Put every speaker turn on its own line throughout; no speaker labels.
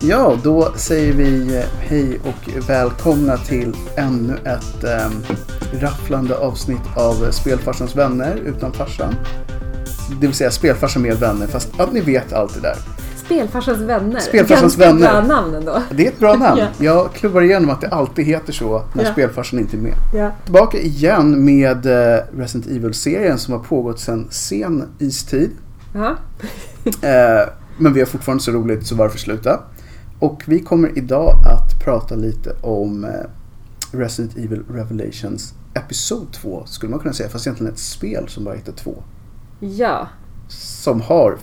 Ja, då säger vi eh, hej och välkomna till ännu ett äm, rafflande avsnitt av eh, Spelfarsans vänner utan farsan. Det vill säga Spelfarsan med vänner, fast att ni vet allt det där.
Spelfarsans vänner.
Spelfarsans
Ganska
vänner.
bra namn ändå.
Det är ett bra namn.
Ja.
Jag klubbar igenom att det alltid heter så när
Ja.
Spelfarsan inte är med.
Ja.
Tillbaka igen med eh, Resident Evil-serien som har pågått sedan sen istid.
Jaha.
Eh, Men vi har fortfarande så roligt så varför sluta? Och vi kommer idag att prata lite om eh, Resident Evil Revelations Episod 2 skulle man kunna säga, fast egentligen ett spel som bara heter 2.
ja,
Som har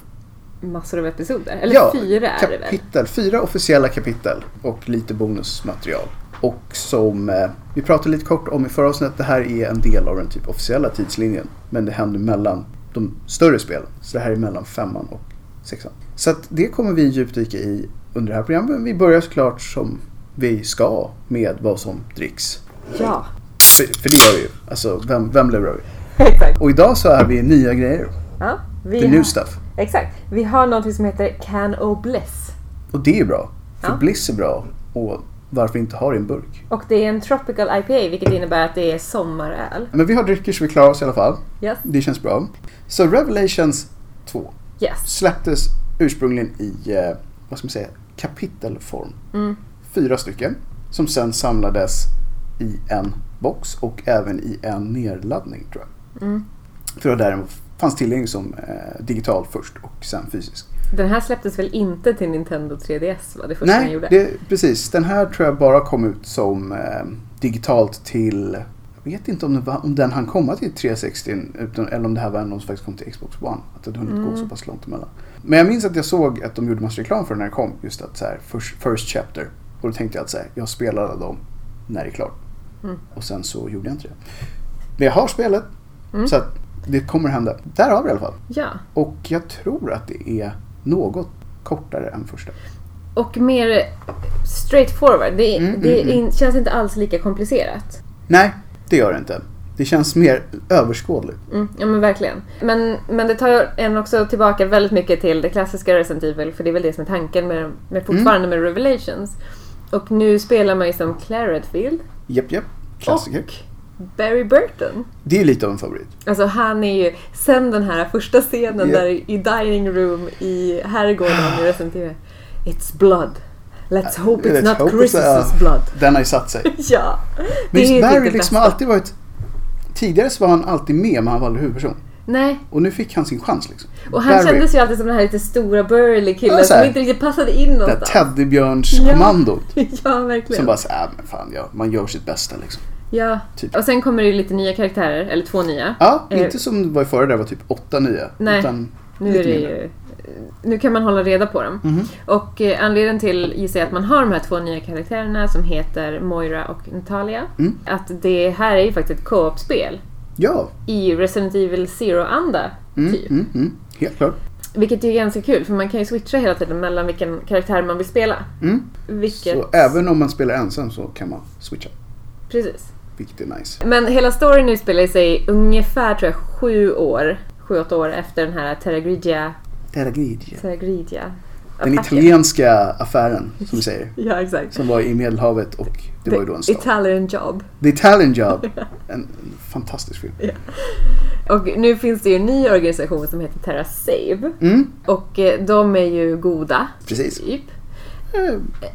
massor av episoder. Eller
ja,
fyra är det väl?
kapitel, fyra officiella kapitel och lite bonusmaterial. Och som eh, vi pratade lite kort om i förra avsnittet, det här är en del av den typ officiella tidslinjen. Men det händer mellan de större spelen. Så det här är mellan femman och sexan. Så att det kommer vi djupdyka i under det här programmet. Men Vi börjar såklart som vi ska med vad som dricks.
Ja,
För, för det gör vi ju. Alltså, vem, vem levererar vi?
exakt.
Och idag så är vi nya grejer.
Ja,
The
vi
new
har,
stuff.
exakt. Vi har någonting som heter Can O Bliss.
Och det är bra. För
Ja.
Bliss är bra. Och varför inte ha det i en burk?
Och det är en Tropical IPA vilket innebär att det är sommaröl.
Men vi har drycker så vi klarar oss i alla fall.
Yes.
Det känns bra. Så Revelations 2
Yes.
släpptes ursprungligen i, eh, vad ska man säga, kapitelform.
Mm.
Fyra stycken. Som sen samlades i en box och även i en nedladdning tror jag.
Mm.
För det var där den fanns tillgänglig som eh, digital först och sen fysisk.
Den här släpptes väl inte till Nintendo 3DS? Var det första den
Nej,
gjorde?
det, precis. Den här tror jag bara kom ut som eh, digitalt till jag vet inte om, det var, om den hann komma till 360 utan, eller om det här var en som faktiskt kom till Xbox One. Att det hade hunnit gå
Mm.
så pass långt emellan. Men jag minns att jag såg att de gjorde massa reklam för den när den kom. Just att så här, first, first chapter. Och då tänkte jag att så här, jag spelar alla dem när det är klart.
Mm.
Och sen så gjorde jag inte det. Men jag har spelet.
Mm.
Så att det kommer hända. Där har vi i alla fall.
Ja.
Och jag tror att det är något kortare än första.
Och mer straightforward. Det,
Mm,
det
mm,
in, känns inte alls lika komplicerat.
Nej, det gör det inte. Det känns mer överskådligt.
Mm, ja men verkligen. Men, men det tar ju en också tillbaka väldigt mycket till det klassiska Resident Evil för det är väl det som är tanken med, med
Mm.
fortfarande med Revelations. Och nu spelar man ju som Claire Redfield
Japp, japp. Klassiker.
och Barry Burton.
Det är lite av en favorit.
Alltså han är ju, sen den här första scenen
Ja.
där i dining room i herrgården i Resident Evil. It's blood. Let's hope it's
Let's
not
hope it's,
Chris's
uh,
blood.
Den har ju satt sig.
Ja.
Men
ju
just
typ
Barry
det
liksom har
bästa.
alltid varit... Tidigare så var han alltid med men han var aldrig huvudperson.
Nej,
Och nu fick han sin chans liksom.
och han
Barry,
kändes ju alltid som den här lite stora burly killen
Ja, så här.
som inte riktigt passade in
Det här
någonstans. Ja.
teddybjörnskommandot.
ja, verkligen.
Som bara såhär, äh, men fan ja, man gör sitt bästa liksom.
ja.
typ.
Och sen kommer det ju lite nya karaktärer, eller två nya.
Ja,
Eh.
inte som det var i förra där det var typ åtta nya.
Nej.
Utan
nu,
lite
är det
mindre.
ju, nu kan man hålla reda på dem.
Mhm.
Och eh, anledningen till, gissar jag, att man har de här två nya karaktärerna som heter Moira och Natalia.
Mm.
Att det här är ju faktiskt ett co-op-spel
Ja.
i Resident Evil Zero-anda,
Mm,
typ.
mm, mm. Helt klart.
Vilket är ju ganska kul, för man kan ju switcha hela tiden mellan vilken karaktär man vill spela.
Mm.
Vilket...
Så även om man spelar ensam så kan man switcha.
Precis.
Vilket är nice.
Men hela storyn utspelar sig ungefär, tror jag, sju år. Sju, åtta år efter den här Terragridia...
Terragridia.
Terragridia...
Den
attacken.
italienska affären, som vi säger.
Ja, exakt.
Som var i Medelhavet och det var ju då en stad.
Italian job.
The Italian Job. En fantastisk film.
Och nu finns det ju en ny organisation som heter Terra Save.
Mm,
Och eh, de är ju goda,
precis.
typ.
Eh,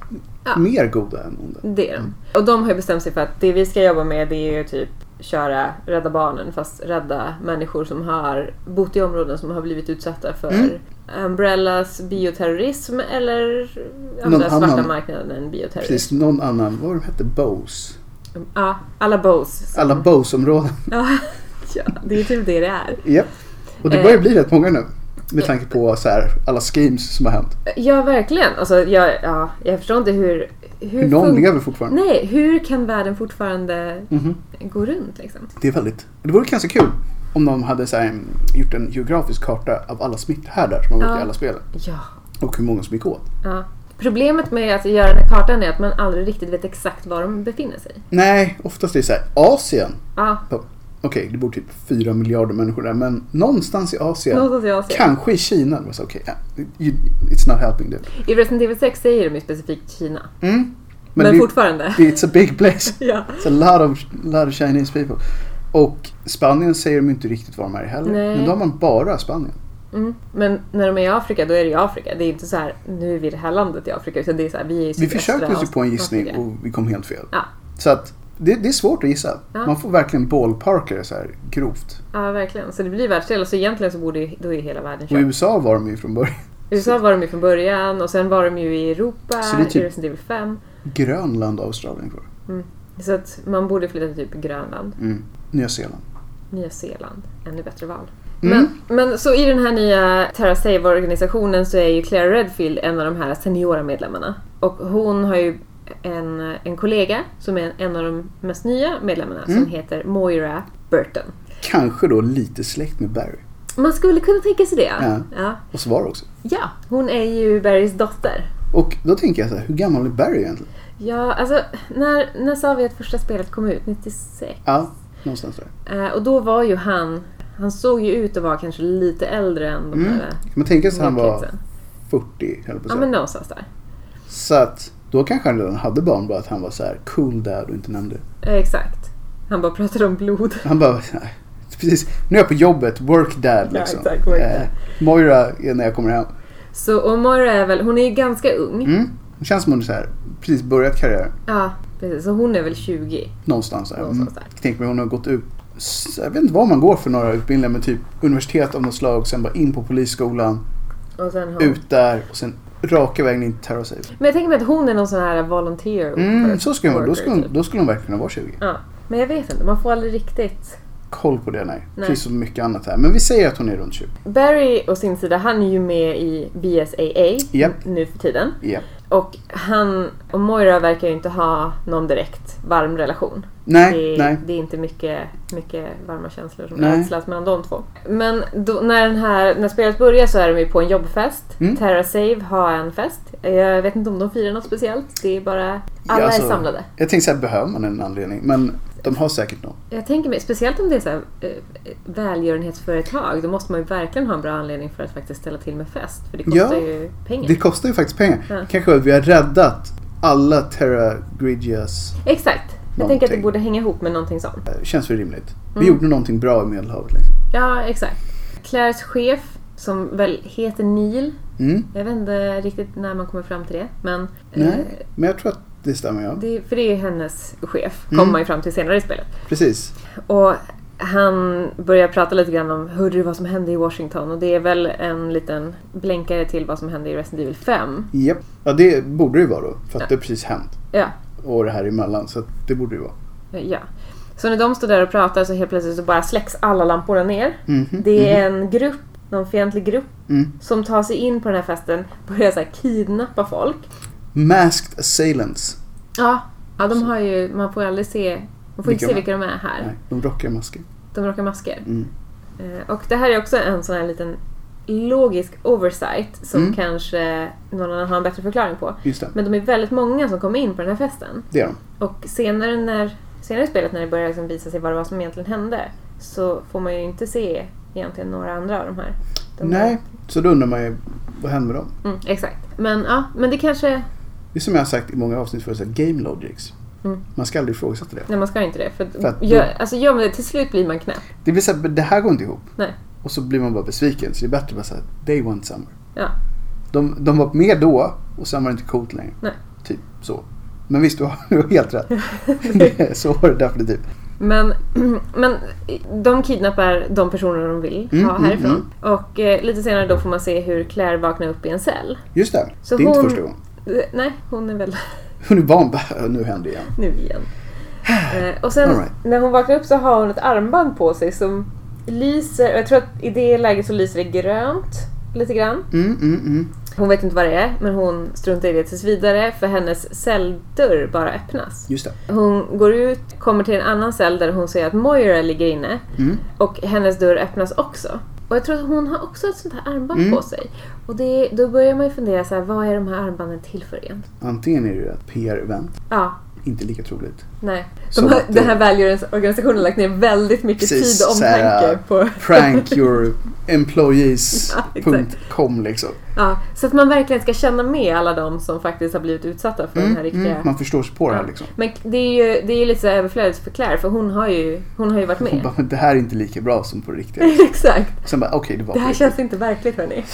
Ja.
Mer goda än onda.
Det är de. Och de har ju bestämt sig för att det vi ska jobba med det är ju typ köra Rädda Barnen fast rädda människor som har bott i områden som har blivit utsatta för
Mm.
Umbrellas bioterrorism eller
Någon
andra svarta
annan.
marknaden bioterrorism.
Precis, någon annan, vad var de hette? Bose.
Ja, alla Bows. som-
Alla Bose-områden.
Ja, ja, det är typ det det är.
Japp. Och det
Eh.
börjar bli rätt många nu. Med tanke på så här, alla schemes som har hänt.
Ja, verkligen. Alltså, jag, ja, jag förstår inte hur...
Hur någon
fun-
lever fortfarande.
Nej, hur kan världen fortfarande
Mhm.
gå runt liksom?
Det är väldigt... Det vore ganska kul om de hade så här, mm, gjort en geografisk karta av alla smitthärdar som har varit
Ja.
i alla spelen.
Ja.
Och hur många som gick åt.
Ja. Problemet med att göra den här kartan är att man aldrig riktigt vet exakt var de befinner sig.
Nej, oftast är det så här, Asien.
Ja,
Okej, det bor typ 4 miljarder människor där, men någonstans i Asien,
Någonstans i Asien.
kanske i Kina, det var så okej, ja, you- it's not helping dude.
I Resident Evil 6 säger de ju specifikt Kina.
Mm.
Men,
det,
fortfarande.
det- it's a big place.
ja.
It's a lot of, lot of Chinese people. Och Spanien säger de inte riktigt var de är heller.
Nej.
Men då har man bara Spanien.
mm. Men när de är i Afrika, då är det ju Afrika. Det är inte så här, nu är vi i det här landet i Afrika. Utan det är så här, vi är i
Vi
sydöstra
försökte oss ju typ på en gissning
Afrika.
och vi kom helt fel.
Typ Ja.
Så att det, det är svårt att gissa.
Ja.
Man får verkligen ballparka det så här grovt.
Ja, verkligen. Så det blir världsdelar. Så egentligen så borde ju, då är ju hela världen
Och i
körd.
USA var de ju från början.
USA var de ju från början och sen var de ju i Europa,
Så det är typ-
i Resident Evil 5.
Grönland och Australien kvar.
Så att man borde flytta till typ Grönland,
Mm. Nya Zeeland.
Nya Zeeland. Ännu bättre val.
Mm.
Men, men så i den här nya Terra Save-organisationen så är ju Claire Redfield en av de här seniora medlemmarna. Och hon har ju en, en kollega som är en av de mest nya medlemmarna
Mm.
som heter Moira Burton.
Kanske då lite släkt med Barry.
Man skulle kunna tänka sig det.
Ja.
Ja.
Och Svar också.
ja. Hon är ju Barrys dotter.
Och då tänker jag så här, hur gammal är Barry egentligen?
Ja, alltså när, när sa vi att första spelet kom ut? 96?
Ja, någonstans där.
Eh, och då var ju han, han såg ju ut att vara kanske lite äldre än de
Mm.
där
Kan man tänka sig att han var
nyckelsen.
40, höll jag på att
Ja
säga.
men någonstans där.
Så att då kanske han redan hade barn, bara att han var så här cool dad och inte nämnde det.
Eh, exakt. Han bara pratade om blod.
Han bara, nej, precis, nu är jag på jobbet, work dad
Ja,
liksom.
exakt, work
Eh, Moira är när jag kommer hem.
Så och Moira är väl, hon är ju ganska ung.
Mm. Det känns som hon är så här, precis börjat karriär
Ja, precis. Så hon är väl 20.
någonstans. Där. Mm.
Någonstans där.
Jag tänker mig hon har gått ut, s- jag vet inte vad man går för några utbildningar, men typ universitet av något slag, sen bara in på polisskolan,
Och sen hon.
ut där och sen raka vägen in till Terra Save.
Men jag tänker mig att hon är någon sån här volunteer
Mm,
worker-
så skulle hon, då
worker,
skulle hon,
typ.
då skulle hon verkligen kunna vara 20.
Ja. Men jag vet inte, man får aldrig riktigt.
Koll på det, nej.
Nej.
Precis som mycket annat här. Men vi säger att hon är runt 20.
Barry å sin sida, han är ju med i BSAA
Japp.
nu för tiden.
Ja.
Och han och Moira verkar ju inte ha någon direkt varm relation.
Nej,
Det är,
nej.
det är inte mycket, mycket varma känslor som
Nej.
ödslas mellan de två. Men då, när, den här, när spelet börjar så är de ju på en jobbfest.
Mm.
Terra Save har en fest. Jag vet inte om de firar något speciellt. Det är bara... Alla
Ja, alltså,
är samlade.
Jag tänkte så här, behöver man en anledning? Men de har säkert någon.
Jag tänker mig, speciellt om det är så här, eh, välgörenhetsföretag, då måste man ju verkligen ha en bra anledning för att faktiskt ställa till med fest. För det kostar
Ja.
ju pengar.
Det kostar ju faktiskt pengar.
Ja.
Kanske att vi har räddat alla Terra Grigias.
Exakt. Jag tänker
Någonting.
att det borde hänga ihop med någonting sånt.
eh, Känns väl rimligt. Vi
Mm.
gjorde någonting bra i Medelhavet. Liksom.
Ja, exakt. Claires chef, som väl heter Neil.
Mm.
Jag vet inte riktigt när man kommer fram till det. Men,
Nej,
eh,
men jag tror att det stämmer. Ja.
det, för det är ju hennes chef,
Mm.
kommer man ju fram till senare i spelet.
Precis.
Och han börjar prata lite grann om hur det vad som hände i Washington och det är väl en liten blänkare till vad som hände i Resident Evil 5.
Japp. Ja, det borde det ju vara då. För att
Ja.
det har precis hänt.
Ja, eh,
Och det här emellan. Så att det borde det vara.
ja. Så när de står där och pratar så helt plötsligt så bara släcks alla lamporna ner.
Mhm,
Det är en grupp, någon fientlig grupp,
Mm.
som tar sig in på den här festen, börjar så här kidnappa folk.
Masked assailants.
Ja, ja de har ju, man får ju aldrig se, man får
Vilka
inte se
de är.
vilka de är här.
Nej, de rockar masker.
De rockar masker.
Mm.
Eh, Och det här är också en sån här liten logisk oversight som
Mm.
kanske någon annan har en bättre förklaring på.
Just det.
Men de är väldigt många som kommer in på den här festen.
Det är de.
Och senare, när, senare i spelet när det börjar liksom visa sig vad det var som egentligen hände så får man ju inte se egentligen några andra av de här. De
Nej, så då undrar man ju vad händer med dem?
Mm, exakt. Men ja, men det kanske...
Det är som jag har sagt i många avsnitt förut, så här, game logics.
Mm.
Man ska aldrig ifrågasätta det.
Nej, man ska inte det. För,
För att-
gör, alltså, gör man det till slut blir man knäpp.
Det blir så här, det här går inte ihop.
Nej.
Och så blir man bara besviken. Så det är bättre bara säga they want summer.
Ja.
De, de var med då och sen var det inte coolt längre.
Nej.
Typ så. Men visst, du har, du har helt rätt. Det- så var det definitivt.
Men, men de kidnappar de personer de vill
Mm,
ha
mm,
härifrån. Och eh, lite senare då får man se hur Claire vaknar upp i en cell.
Just det,
Så
det är inte
hon-
första gången.
Eh, Nej, hon är väl
Hon är van bara, nu händer det igen.
nu igen. Eh, och sen
All right.
när hon vaknar upp så har hon ett armband på sig som lyser. Och jag tror att i det läget så lyser det grönt lite grann.
Mm, mm, mm.
Hon vet inte vad det är men hon struntar i det tills vidare för hennes celldörr bara öppnas.
Just det.
Hon går ut, kommer till en annan cell där hon ser att Moira ligger inne.
Mm.
Och hennes dörr öppnas också. Och jag tror att hon har också ett sånt här armband
Mm.
på sig. Och det, då börjar man ju fundera så här, vad är de här armbanden till för egentligen?
Antingen är det ett PR-event
Ja,
inte lika troligt.
Nej. De
Som
har,
att,
den här
eh,
välgörenhetsorganisationen har lagt ner väldigt mycket
Precis,
tid och
så här, äh,
omtanke på...
Prankyouremployees.com liksom.
Ja, så att man verkligen ska känna med alla de som faktiskt har blivit utsatta för den här
Mm,
riktiga...
mm, man förstår sig på det här
Ja.
liksom.
Men det är ju, det är ju lite så här överflödigt för Claire för hon har ju, hon har ju varit
Hon
med.
bara, men det här är inte lika bra som på det riktiga.
Exakt.
Sen bara, okej det var
Det
på
här
riktigt.
känns inte verkligt hörni.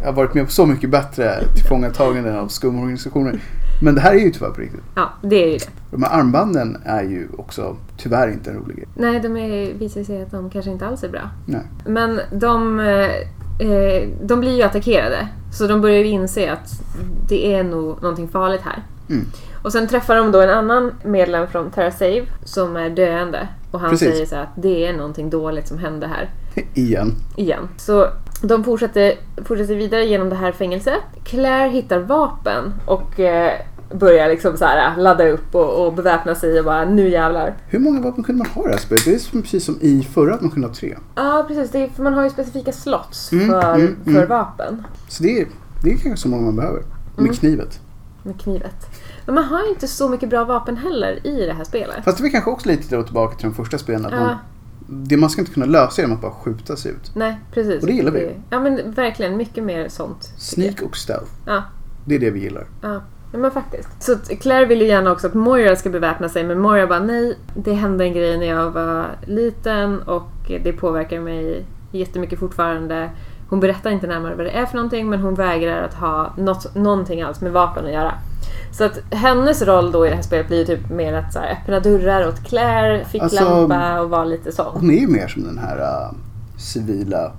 Jag har varit med på så mycket bättre tillfångataganden av skumorganisationer. Men det här är ju tyvärr på riktigt.
Ja, det är ju det.
De här armbanden är ju också tyvärr inte en rolig grej.
Nej, de är, visar sig att de kanske inte alls är bra.
Nej.
Men de, eh, eh, de blir ju attackerade. Så de börjar ju inse att det är nog någonting farligt här.
Mm.
Och sen träffar de då en annan medlem från Terra Save som är döende. Och han
Precis.
säger så här att det är någonting dåligt som hände här.
Igen.
igen. Så de fortsätter, fortsätter vidare genom det här fängelset. Claire hittar vapen och eh, börjar liksom så här ladda upp och, och beväpna sig och bara nu jävlar.
Hur många vapen kunde man ha i det här spelet? Det är som- precis som i förra att man kunde ha tre.
Ja precis, det är, för man har ju specifika slots
Mm,
för,
mm,
för
mm.
vapen.
Så det är, det är kanske så många man behöver. Med
Mm.
knivet.
Med knivet. Men man har ju inte så mycket bra vapen heller i det här spelet.
Fast det var kanske också lite då tillbaka till de första spelen. Att man,
Ja.
det man ska inte kunna lösa är genom att bara skjuta sig ut.
Nej, precis.
Och det gillar vi.
Ja men verkligen, mycket mer sånt. tycker jag.
Sneak och stealth.
Ja.
Det är det vi gillar.
Ja, ja, men faktiskt. Så att Claire vill ju gärna också att Moira ska beväpna sig men Moira bara nej, det hände en grej när jag var liten och det påverkar mig jättemycket fortfarande. Hon berättar inte närmare vad det är för någonting men hon vägrar att ha något, någonting alls med vapen att göra. Så att hennes roll då i det här spelet blir ju typ mer att så här, öppna dörrar åt Claire, ficklampa och vara lite sån.
Hon är ju mer som den här äh, civila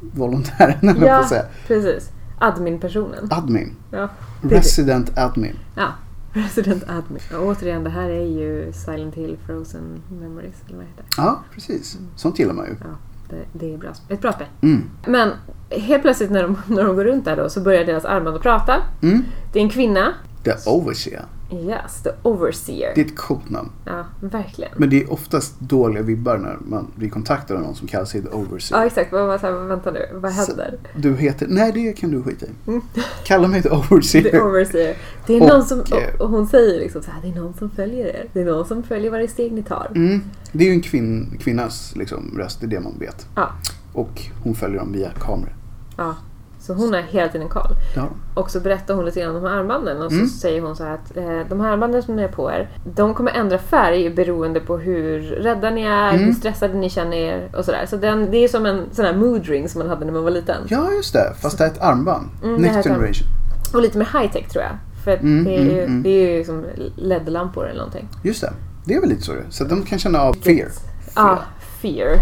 volontären, höll jag på
Ja,
att säga.
precis. Admin-personen.
Admin.
Ja, det är det.
Resident admin.
Ja, Resident Admin. Och återigen, det här är ju Silent Hill Frozen Memories, eller vad heter det?
Ja, precis. Sånt gillar man ju.
Ja, det, det är bra, sp- ett bra spel.
Mm.
Men helt plötsligt när de, när de går runt där då så börjar deras armband att prata.
Mm.
Det är en kvinna.
The Overseer.
Yes, the overseer.
Det är ett coolt namn.
Ja, verkligen.
Men det är oftast dåliga vibbar när man blir kontaktad av någon som kallar sig The Overseer.
Ja, exakt. Man var så här, vänta nu, vad händer? Mm.
Du heter... Nej, det kan du skita i. Kalla mig The Overseer.
The overseer. Det är
Och,
någon som,
eh,
och, och hon säger liksom så här, det är någon som följer er. Det är någon som följer varje steg ni tar.
Mm. Det är ju en kvinn, kvinnas liksom, röst, det är det man vet.
Ja,
Och hon följer dem via kameror.
ja. Så hon har hela tiden koll.
Ja.
Och så berättar hon lite grann om de här armbanden och så
Mm.
säger hon så här att eh, de här armbanden som ni har på er, de kommer ändra färg beroende på hur rädda ni är,
Mm.
hur stressade ni känner er och sådär. Så den, det är som en sån här mood ring som man hade när man var liten.
ja, just det. Fast det är ett armband.
Mm, det här är
Next
ett armband.
generation.
Och lite mer high tech tror jag. För att
Mm,
det, är ju,
mm, mm.
det är ju som LED-lampor eller någonting.
Just det. Det är väl lite så det är. Så att de kan känna av fear.
Ja, ah, fear.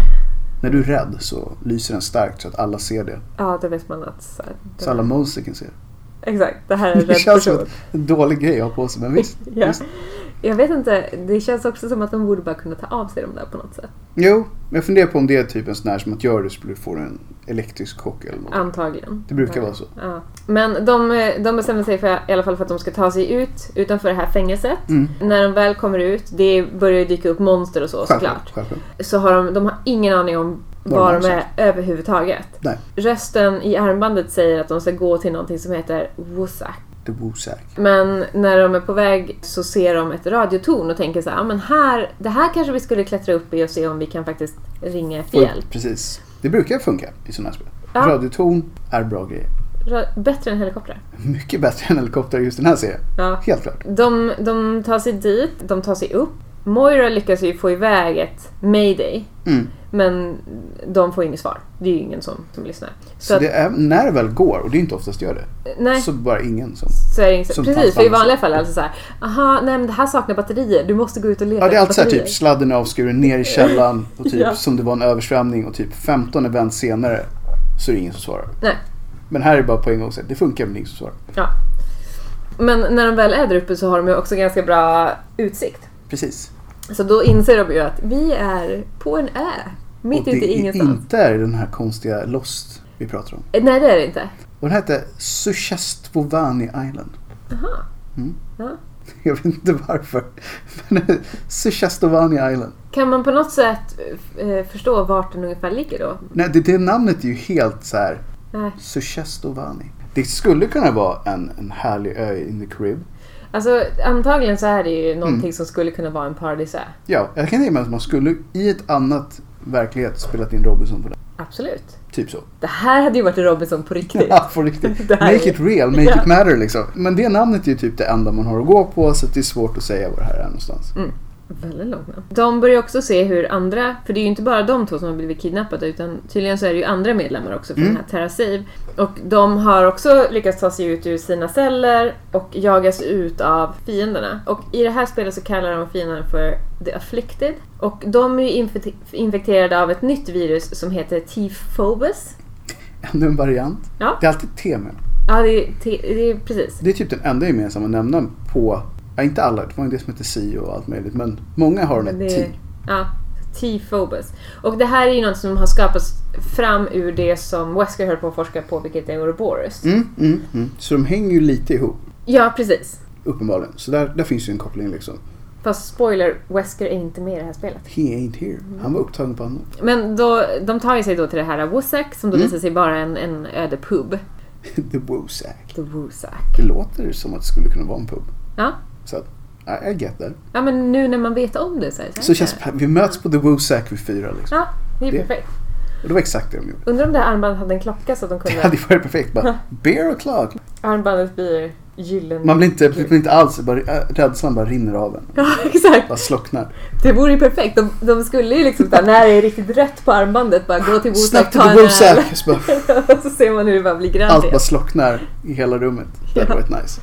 När du är rädd så lyser den starkt så att alla ser det.
Ja, då vet man att... Så här,
Så alla monster kan se det.
Exakt, det här är
Det
rätt
känns som
person.
att- En dålig grej att ha på sig, men visst.
Ja.
visst.
Jag vet inte, det känns också som att de borde bara kunna ta av sig dem där på något sätt.
Jo, men jag funderar på om det är typ en sån här som att gör det så får du en elektrisk chock eller något.
Antagligen.
Det brukar
Ja.
vara så.
Ja. Men de, de bestämmer sig för, i alla fall för att de ska ta sig ut utanför det här fängelset.
Mm.
När de väl kommer ut, det börjar ju dyka upp monster och så såklart.
självklart.
Så har de, de har ingen aning om
Var
var
de
de är överhuvudtaget.
Nej,
Rösten i armbandet säger att de ska gå till någonting som heter Wosak.
det var osäkert.
Men när de är på väg så ser de ett radiotorn och tänker så här, "Ah, men här, det här kanske vi skulle klättra upp i och se om vi kan faktiskt ringa efter
Och-
hjälp.
Precis. Det brukar funka i sådana här spel.
Ja.
Radioton är bra grej.
Ra- Bättre än helikoptrar.
Mycket bättre än helikopter i just den här serien.
Ja.
Helt klart.
De, de tar sig dit, de tar sig upp. Moira lyckas ju få iväg ett mayday.
Mm.
Men de får inget svar. Det är ju ingen som, som lyssnar. Så,
Så
att,
det är, när det väl går, och det är inte oftast gör det,
nej, så,
så bara ingen som...
är det inget.
som
Precis,
fanns
för i
fanns.
vanliga fall är det alltså så här. Aha, nej men det här saknar batterier. Du måste gå ut och leta
Ja, det är alltid så här,
batterier.
typ sladden är avskuren ner i källaren och typ
Ja.
som det var en översvämning och typ 15 event senare så är det ingen som svarar.
Nej.
Men här är det bara på en gång så här, det funkar men ingen som svarar.
Ja. Men när de väl är där uppe så har de ju också ganska bra utsikt.
Precis.
Så då inser de ju att vi är på en ö. Mitt
och
ute
det
i
är
ingenstans. Eh,
inte är den här konstiga Lost vi pratar om.
Nej, det är det inte.
Och den hette Suchestvovani Island.
Aha.
Mm.
Ja.
Jag vet inte varför. Men Suchestvovani Island.
Kan man på något sätt eh, förstå vart den ungefär ligger då?
Nej, det, det namnet är ju helt så här
Nej.
Suchestovani. Det skulle kunna vara en, en härlig ö in the Carib.
Alltså antagligen så här är det ju
Mm.
någonting som skulle kunna vara en paradisö.
Ja, jag kan tänka mig att man skulle i ett annat verklighet spelat in Robinson på det.
Absolut.
Typ så.
Det här hade ju varit Robinson på riktigt.
Ja, på riktigt.
Det här är-
Make it real, make
Ja.
it matter liksom. Men det namnet är ju typ det enda man har att gå på så att det är svårt att säga var det här är någonstans.
Väldigt långt namn. De börjar också se hur andra, för det är ju inte bara de två som har blivit kidnappade utan tydligen så är det ju andra medlemmar också från
Mm.
den här Terra Save. Och de har också lyckats ta sig ut ur sina celler och jagas ut av fienderna. Och i det här spelet så kallar de fienderna för The Afflicted. Och de är ju infekte- infekterade av ett nytt virus som heter T-Phobus.
Ännu en variant.
Ja.
Det är alltid temen.
Ja, det är, te- det är precis.
Det är typ den enda gemensamma nämnaren på, ja inte alla, det var ju det som hette Si och allt möjligt, men många har den här
Det-
T.
Ja, T-Phobus. Och det här är ju något som har skapats fram ur det som Wesker höll på att forska på, vilket är Ouroboros.
Mm, mm, mm. Så de hänger ju lite ihop,
Ja, precis.
uppenbarligen. Så där, där finns ju en koppling liksom.
Fast spoiler, Wesker är inte med i det här spelet.
He ain't here.
Mm.
Han var upptagen på annat.
Men då, de tar ju sig då till det här Wosak som då
Mm.
visar sig vara en, en öde pub.
The Wosack.
The Wosak.
Det låter som att det skulle kunna vara en pub.
Ja.
Så att, I, I get that.
ja, men nu när man vet om det så är det så här.
Så känns, vi möts på The Wosack vid fyra liksom.
Ja, det är
Det-
perfekt.
Och det var exakt det de gjorde.
Undrar om det här armbandet hade en klocka så att de
Det
kunde...
hade ju varit perfekt. Bara, beer o'clock.
Armbandet blir gyllene.
Man blir inte, blir inte alls, bara, äh, rädslan bara rinner av en.
Ja, exakt.
Bara slocknar.
Det vore ju perfekt. De, de skulle ju liksom såhär, när det är riktigt rött på armbandet, bara gå till Wosak,
Snabbt till
ta
The
en öl.
Wosack. Så bara,
Så ser man hur det bara blir
Allt bara
grandigt.
slocknar i hela rummet. Det hade varit nice.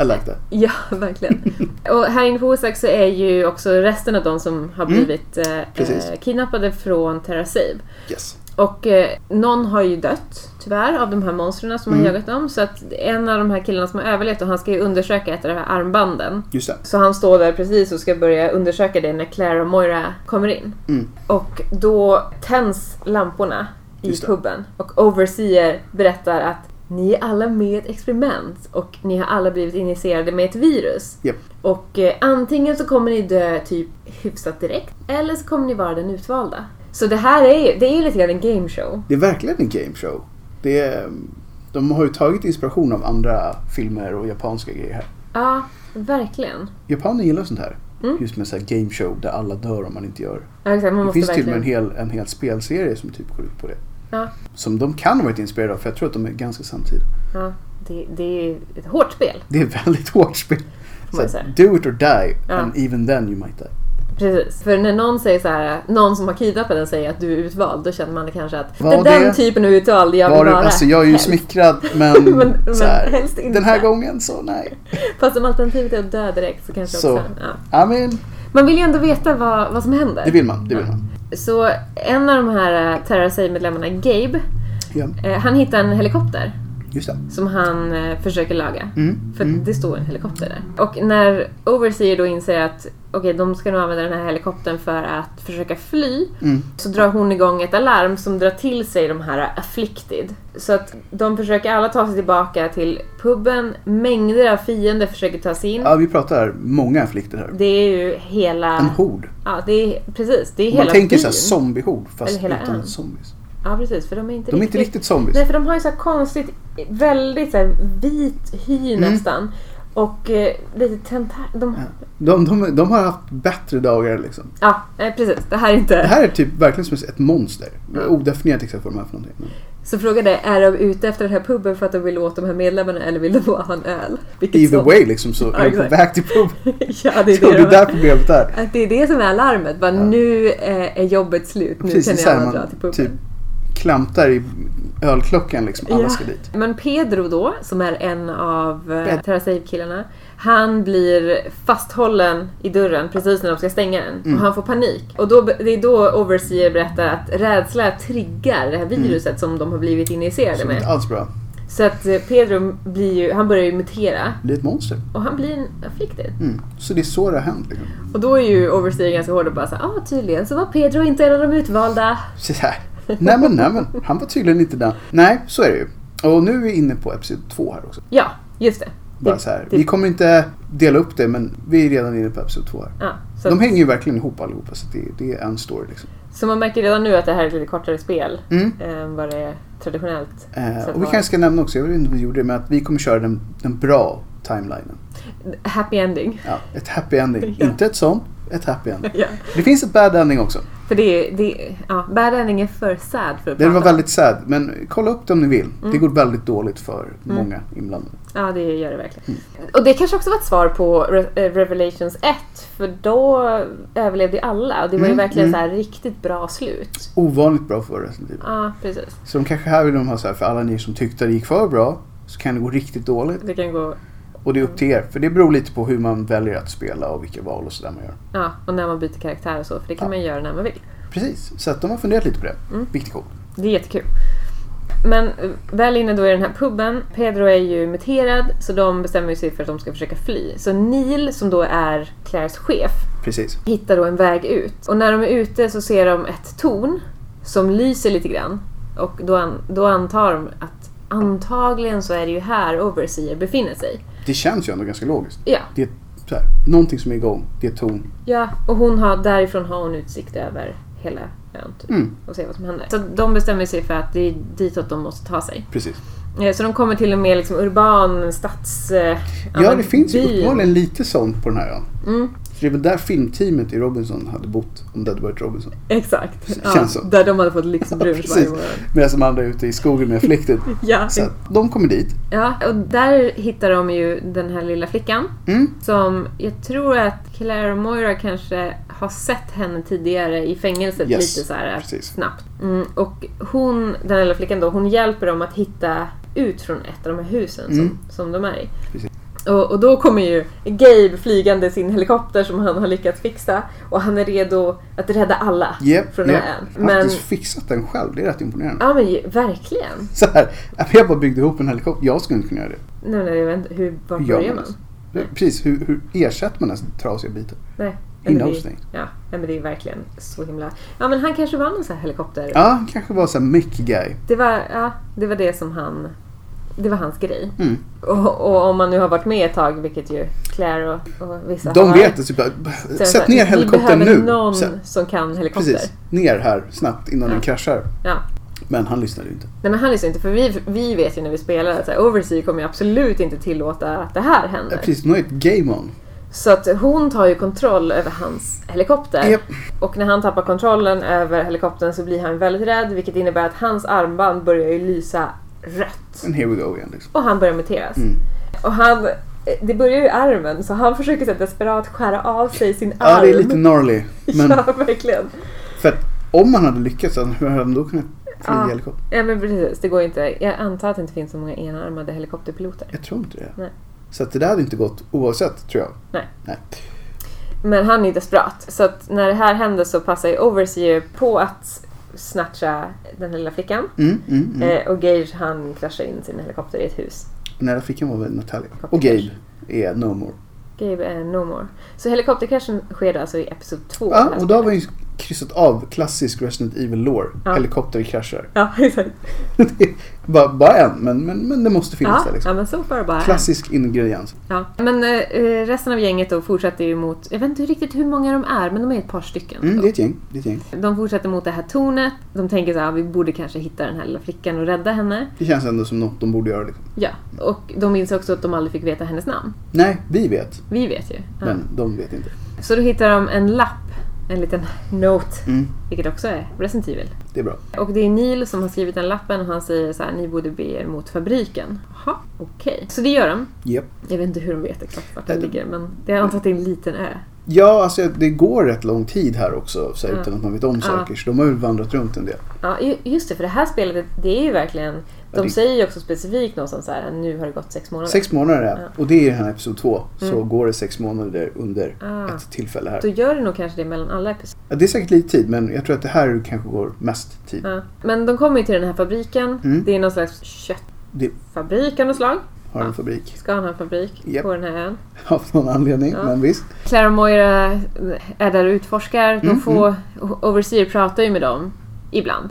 I like that.
Ja, verkligen. Och här inne på Wosak så är ju också resten av de som har
Mm.
blivit eh,
Precis.
eh, kidnappade från Terra Save.
Yes.
Och eh, någon har ju dött, tyvärr, av de här monstren som har
Mm.
jagat dem. Så att en av de här killarna som har överlevt, och han ska ju undersöka ett av de här armbanden.
Just det.
Så han står där precis och ska börja undersöka det när Claire och Moira kommer in.
Mm.
Och då tänds lamporna i
Just det.
puben och Overseer berättar att ni är alla med i ett experiment och ni har alla blivit injicerade med ett virus.
Japp.
Och eh, antingen så kommer ni dö typ hyfsat direkt eller så kommer ni vara den utvalda. Så det här är ju, det är ju lite grann en game show.
Det är verkligen en game show. Det är, mm, de har ju tagit inspiration av andra filmer och japanska grejer här.
Ja, verkligen.
Japaner gillar sånt här.
Mm.
Just med så här game show där alla dör om man inte gör.
Ja, exakt, man
Det
måste
finns till och med en
verkligen...
hel, en hel spelserie som typ går ut på det.
Ja.
Som de kan ha varit inspirerade av för jag tror att de är ganska samtida.
Ja, det, det är ju ett hårt spel.
Det är ett väldigt hårt spel.
Får
Så
man
här,
säga.
do it or die
Ja.
and even then you might die.
Precis. För när någon säger så här, någon som har kidnappat den säger att du är utvald, då känner man kanske att
Var
det är den
det-
typen av utvald jag vill
Var det,
vara.
alltså jag är ju
helst."
smickrad men,
Men-
så här,
men helst inte.
den här gången så nej.
Fast om alternativet är att dö direkt så kanske
Så.
också... Ja.
I mean,
Man vill ju ändå veta vad, vad som händer.
det vill man. Det vill man.
Så en av de här eh, Terra medlemmarna Gabe,
Ja,
eh, han hittar en helikopter
just det.
som han eh, försöker laga.
Mm,
För det står en helikopter där. Och när Overseer då inser att okej, de ska nog använda den här helikoptern för att försöka fly.
Mm.
Så drar hon igång ett alarm som drar till sig de här afflicted. Så att de försöker alla ta sig tillbaka till puben. Mängder av fiender försöker ta sig in.
Ja, vi pratar många afflikter här.
Det är ju hela...
En hord.
Ja, det är, precis. Det är
Man
hela
tänker så här
byn.
zombiehord fast
Eller hela
utan
ön.
zombies.
Ja, precis. För de är inte
De är
riktigt...
inte riktigt zombies.
Nej, för de har ju så här konstigt, väldigt så här vit hy nästan. Och eh, lite tentar... De...
Mm. Ja. De, de, de har haft bättre dagar liksom.
Ja, eh, precis. Det här är
Det
inte...
här är typ verkligen som ett monster.
Ja.
Odefinierat exakt vad de är för någonting. Men
Så frågan är, är de ute efter den här puben för att de vill åt de här medlemmarna eller vill de bara ha en öl? Vilket
Either
som-
way liksom så
Ja,
är de på
exakt.
väg till pub.
ja, det är det,
Och det
de-
är där problemet är.
Att det är det som är larmet. Bara, Nu eh, är jobbet slut, nu
Precis, det är
kan
så
ni alla
här
dra till
man
puben.
typ klantar i ölklockan liksom. Alla ska dit.
Men Pedro då, som är en av eh, Terra Save-killarna, han blir fasthållen i dörren precis när de ska stänga den.
Mm.
Och han får panik. Och då, det är då Overseer berättar att rädsla triggar det här
Mm.
viruset som de har blivit injicerade
Så det är
med.
inte alls bra.
Så att eh, Pedro blir ju, han börjar ju mutera
Det är ett monster.
och han blir en afflicted.
Mm. Så det är så det har hänt. Liksom.
Och då är ju Overseer ganska hård och bara såhär, ah tydligen så var Pedro inte en av de utvalda.
Så här. Nej men, nej men, han var tydligen inte den. Nej, så är det ju. Och nu är vi inne på Episod 2 här också.
Ja, just det.
Bara
Det-
så här.
det-
Vi kommer inte dela upp det men vi är redan inne på Episod 2 här.
Ja, så,
De hänger ju verkligen ihop allihopa så det, det är en story liksom.
så man märker redan nu att det här är ett lite kortare spel
Mm.
än vad det är traditionellt.
Eh,
Så att
och vi
vara-
kanske ska nämna också, jag vet inte om vi gjorde det, men att vi kommer köra den, den bra timelinen.
Happy ending.
Ja, ett happy ending.
Ja.
Inte ett sånt, ett happy ending.
ja.
Det finns ett bad ending också.
För det, det ja, bad ending är för sad för att
Det var
prata.
väldigt sad, men kolla upp det om ni vill. Det
Mm.
går väldigt dåligt för många inblandade.
Ja, det gör det verkligen.
Mm.
Och det kanske också var ett svar på Re- eh, Revelations 1, för då överlevde ju alla och det var ju
Mm,
verkligen
mm.
så här riktigt bra slut.
Ovanligt bra för Resident Evil.
Ja, precis.
Så de kanske här vill de ha så här, för alla ni som tyckte det gick för bra så kan det gå riktigt dåligt.
Det kan gå...
Och det är upp till er, för det beror lite på hur man väljer att spela och vilka val och sådär man gör.
Ja, och när man byter karaktär och så, för det kan
Ja.
man göra när man vill.
Precis, så att de har funderat lite på det.
Mm.
Vilket är coolt.
Det är jättekul. Men eh, väl inne då i den här puben, Pedro är ju muterad så de bestämmer ju sig för att de ska försöka fly. Så Neil, som då är Claires chef,
Precis.
hittar då en väg ut. Och när de är ute så ser de ett torn som lyser lite grann. Och då, an- då antar de att antagligen så är det ju här Overseer befinner sig.
Det känns ju ändå ganska logiskt.
Ja,
Det är så här, någonting som är igång, det är ton.
ja och hon har, därifrån har hon utsikt över hela ön typ,
Mm.
och ser vad som händer. Så de bestämmer sig för att det är ditåt de måste ta sig.
Precis.
Eh, Så de kommer till en mer liksom urban stads... eh,
Ja,
men
det finns ju
by.
uppenbarligen lite sånt på den här ön.
Mm,
Så det är väl där filmteamet i Robinson hade bott om det hade varit Robinson.
exakt. Ja,
Känns så.
Där de hade fått lyxbrunch
Ja,
varje
precis.
morgon.
Medan de andra är ute i skogen med flyktet.
Ja,
Så att de kommer dit.
ja, och där hittar de ju den här lilla flickan.
Mm.
Som jag tror att Claire och Moira kanske har sett henne tidigare i fängelset
Yes,
lite så här
precis.
snabbt. Mm, och hon, den lilla flickan då, hon hjälper dem att hitta ut från ett av de här husen
Mm.
som, som de är i.
Precis.
Och, och då kommer ju Gabe flygande i sin helikopter som han har lyckats fixa och han är redo att rädda alla
Japp,
från
japp.
ön.
Han har
Men,
faktiskt fixat den själv, det är rätt imponerande.
ja men ju- verkligen.
Så här, jag bara byggde ihop en helikopter, jag skulle inte kunna göra det.
Nej, nej, jag vet inte, hur, var
Hur gör
börjar
man
man?
ens? Precis, hur, hur ersätter man ens trasiga bitar?
Nej.
He
nej, men
knows
det,
things.
ja, nej, men det är verkligen så himla... Ja men han kanske var någon sån här helikopter...
Ja, kanske var såhär mech guy.
Det var, ja, det var det som han... Det var hans grej.
Mm.
Och, och om man nu har varit med ett tag, vilket ju Claire och, och vissa
De
har.
vet det, typ bara,
så är det så
sätt
här,
ner helikoptern
Vi behöver
nu.
någon
Så här,
som kan helikopter.
precis, ner här snabbt innan
Ja.
den kraschar.
Ja.
Men han lyssnade ju inte.
Nej men han lyssnar inte, för vi, vi vet ju när vi spelar att så här, Overseer kommer ju absolut inte tillåta att det här
Ja,
händer.
precis, nu är ett game on.
Så att hon tar ju kontroll över hans helikopter.
Japp.
Och när han tappar kontrollen över helikoptern så blir han väldigt rädd, vilket innebär att hans armband börjar ju lysa rött.
And here we go igen. Liksom.
Och han börjar muteras.
Mm.
Och han, eh, det börjar ju i armen så han försöker så här desperat skära av sig sin arm.
Ja, det är lite gnarly. Men
Ja, verkligen.
för att om han hade lyckats, hur hade han då kunnat flyga
Ja.
helikopter?
Ja men precis, det går inte. Jag antar att det inte finns så många enarmade helikopterpiloter.
Jag tror inte det.
Nej.
Så att det där hade inte gått oavsett, tror jag.
Nej.
Nej.
Men han är ju desperat. Så att när det här händer så passar ju Overseer på att snatcha den här lilla flickan.
Mm, mm, mm.
Eh, och Gage han kraschar in sin helikopter i ett hus.
Nej, där fick han vara väl Natalia. Och Gabe är No
Oh,
More.
Gabe är no more. Så helikopterkraschen sker alltså i Episod 2.
Ja, och då har vi ju kryssat av klassisk Resident Evil lore.
Ja.
Helikopterkraschar.
Ja, exakt.
Det är bara, bara en, men, men, men det måste finnas
Ja,
där liksom.
ja men så får det bara hända.
Klassisk ingrediens.
Ja, men eh, eh, resten av gänget då fortsätter ju mot, jag vet inte riktigt hur många de är, men de är ett par stycken.
Mm, det är ett gäng. Det, är ett gäng.
De fortsätter mot det här tornet. De tänker så här, vi borde kanske hitta den här lilla flickan och rädda henne.
det känns ändå som något de borde göra. Liksom.
Ja, och de minns också att de aldrig fick veta hennes namn.
Nej, vi vet,
Vi vet ju. Ja.
men de vet inte.
Så då hittar de en lapp, en liten note,
Mm,
vilket också är Resident Evil.
det är bra.
Och det är Neil som har skrivit den lappen och han säger så här, ni borde bege er mot fabriken. Jaha, okej. Så det gör de.
Japp.
Jag vet inte hur de vet exakt vart den
Nej, de-
ligger, men det är antar att det är en liten ö.
Ja, alltså det går rätt lång tid här också så här,
Ja.
utan att man vet om
Ja.
saker. Så de har ju vandrat runt en del.
Ja, ju- just det, för det här spelet, det är ju verkligen...
Ja,
De
det-
säger ju också specifikt någonstans så här, nu har det gått sex månader.
Sex månader är
Ja. Mm.
och det är i den här episod två. Så går det sex månader under
Ah.
ett tillfälle här.
Då gör det nog kanske det mellan alla episoder.
Ja, det är säkert lite tid, men jag tror att det här kanske går mest tid.
Ja. Men de kommer ju till den här fabriken.
Mm.
Det är någon slags
Det-
köttfabrik av något slag.
Har en
Ja.
fabrik
Ska han ha en fabrik
Japp.
på den här ön.
av någon anledning,
Ja.
men visst.
Claire och Moira är där och utforskar. De
Mm,
får... Overseer pratar ju med dem. Ibland.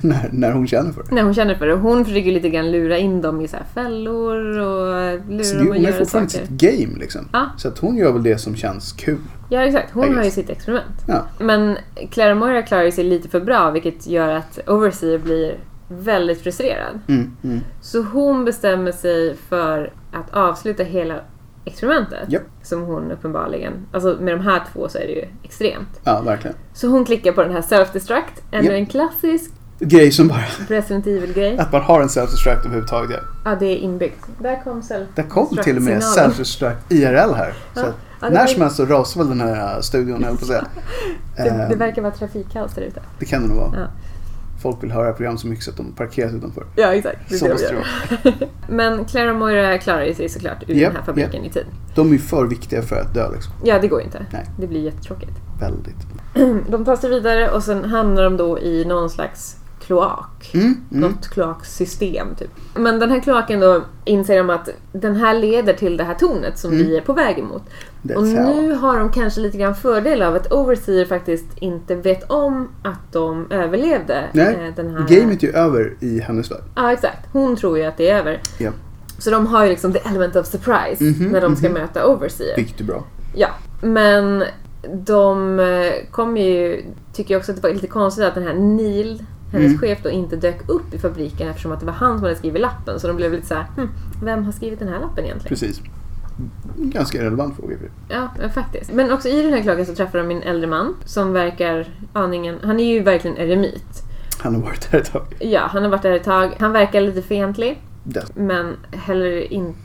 när, när hon känner för det.
När hon känner för det. Hon försöker ju lite grann lura in dem i så här fällor och
Så
lura
Alltså, det
dem att
hon är
göra
fortfarande
saker.
sitt game liksom.
Ja.
Så att hon gör väl det som känns kul.
Ja, exakt.
I
Hon har ju
guess.
sitt experiment.
Ja.
Men Clara Moira klarar ju sig lite för bra vilket gör att Overseer blir väldigt frustrerad.
Mm, mm.
Så hon bestämmer sig för att avsluta hela experimentet.
Japp.
Som hon uppenbarligen... Alltså med de här två så är det ju extremt.
ja, verkligen.
Så hon klickar på den här self-destruct. Ännu
Japp.
en klassisk
Grej som bara...
Resident Evil-grej.
Att man har en self-destruct överhuvudtaget. Ja.
Ja, det är inbyggt. Där kom self
Det kom till och med
Destruct-signalen.
self-destruct IRL här. Så
Ja.
att
Ja, det
när
var-
som helst så rasar väl den här äh, studion, höll jag på att säga.
Det, det
Ehm,
verkar vara trafikkaos där ute.
det kan det nog vara.
Ja.
Folk vill höra program så mycket så att de parkeras utanför.
Ja, exakt. Det är
Så
det de
måste det
gör. Men Clara Moira klarar ju sig såklart ur
Japp,
den här fabriken i tid.
De är ju för viktiga för att dö liksom.
Ja, det går ju inte.
Nej.
Det blir jättetråkigt.
Väldigt.
De tar sig vidare och sen hamnar de då i någon slags kloak.
Mm, mm.
Något kloaksystem typ. Men den här kloaken då inser de att den här leder till det här tornet
Mm.
som vi är på väg emot.
That's
Och
how.
nu har de kanske lite grann fördel av att Overseer faktiskt inte vet om att de överlevde
Nej,
eh, den här...
gamet är ju över i hennes värld.
Ja, exakt. Hon tror ju att det är över.
Ja.
Så de har ju liksom the element of surprise
Mhm,
när de ska möta Overseer.
Vilket är bra.
Ja, men de eh, kommer ju... Tycker ju också att det var lite konstigt att den här Neil, hennes
Mm.
chef, då inte dök upp i fabriken eftersom att det var han som hade skrivit lappen. Så de blev lite så här, hm, vem har skrivit den här lappen egentligen?
Precis. Ganska relevant fråga. i och för sig.
Ja, men faktiskt. Men också i den här klagan så träffar de en äldre man som verkar aningen... Han är ju verkligen eremit.
Han har varit där ett tag.
Ja, han har varit där ett tag. Han verkar lite fientlig,
Dess.
men heller inte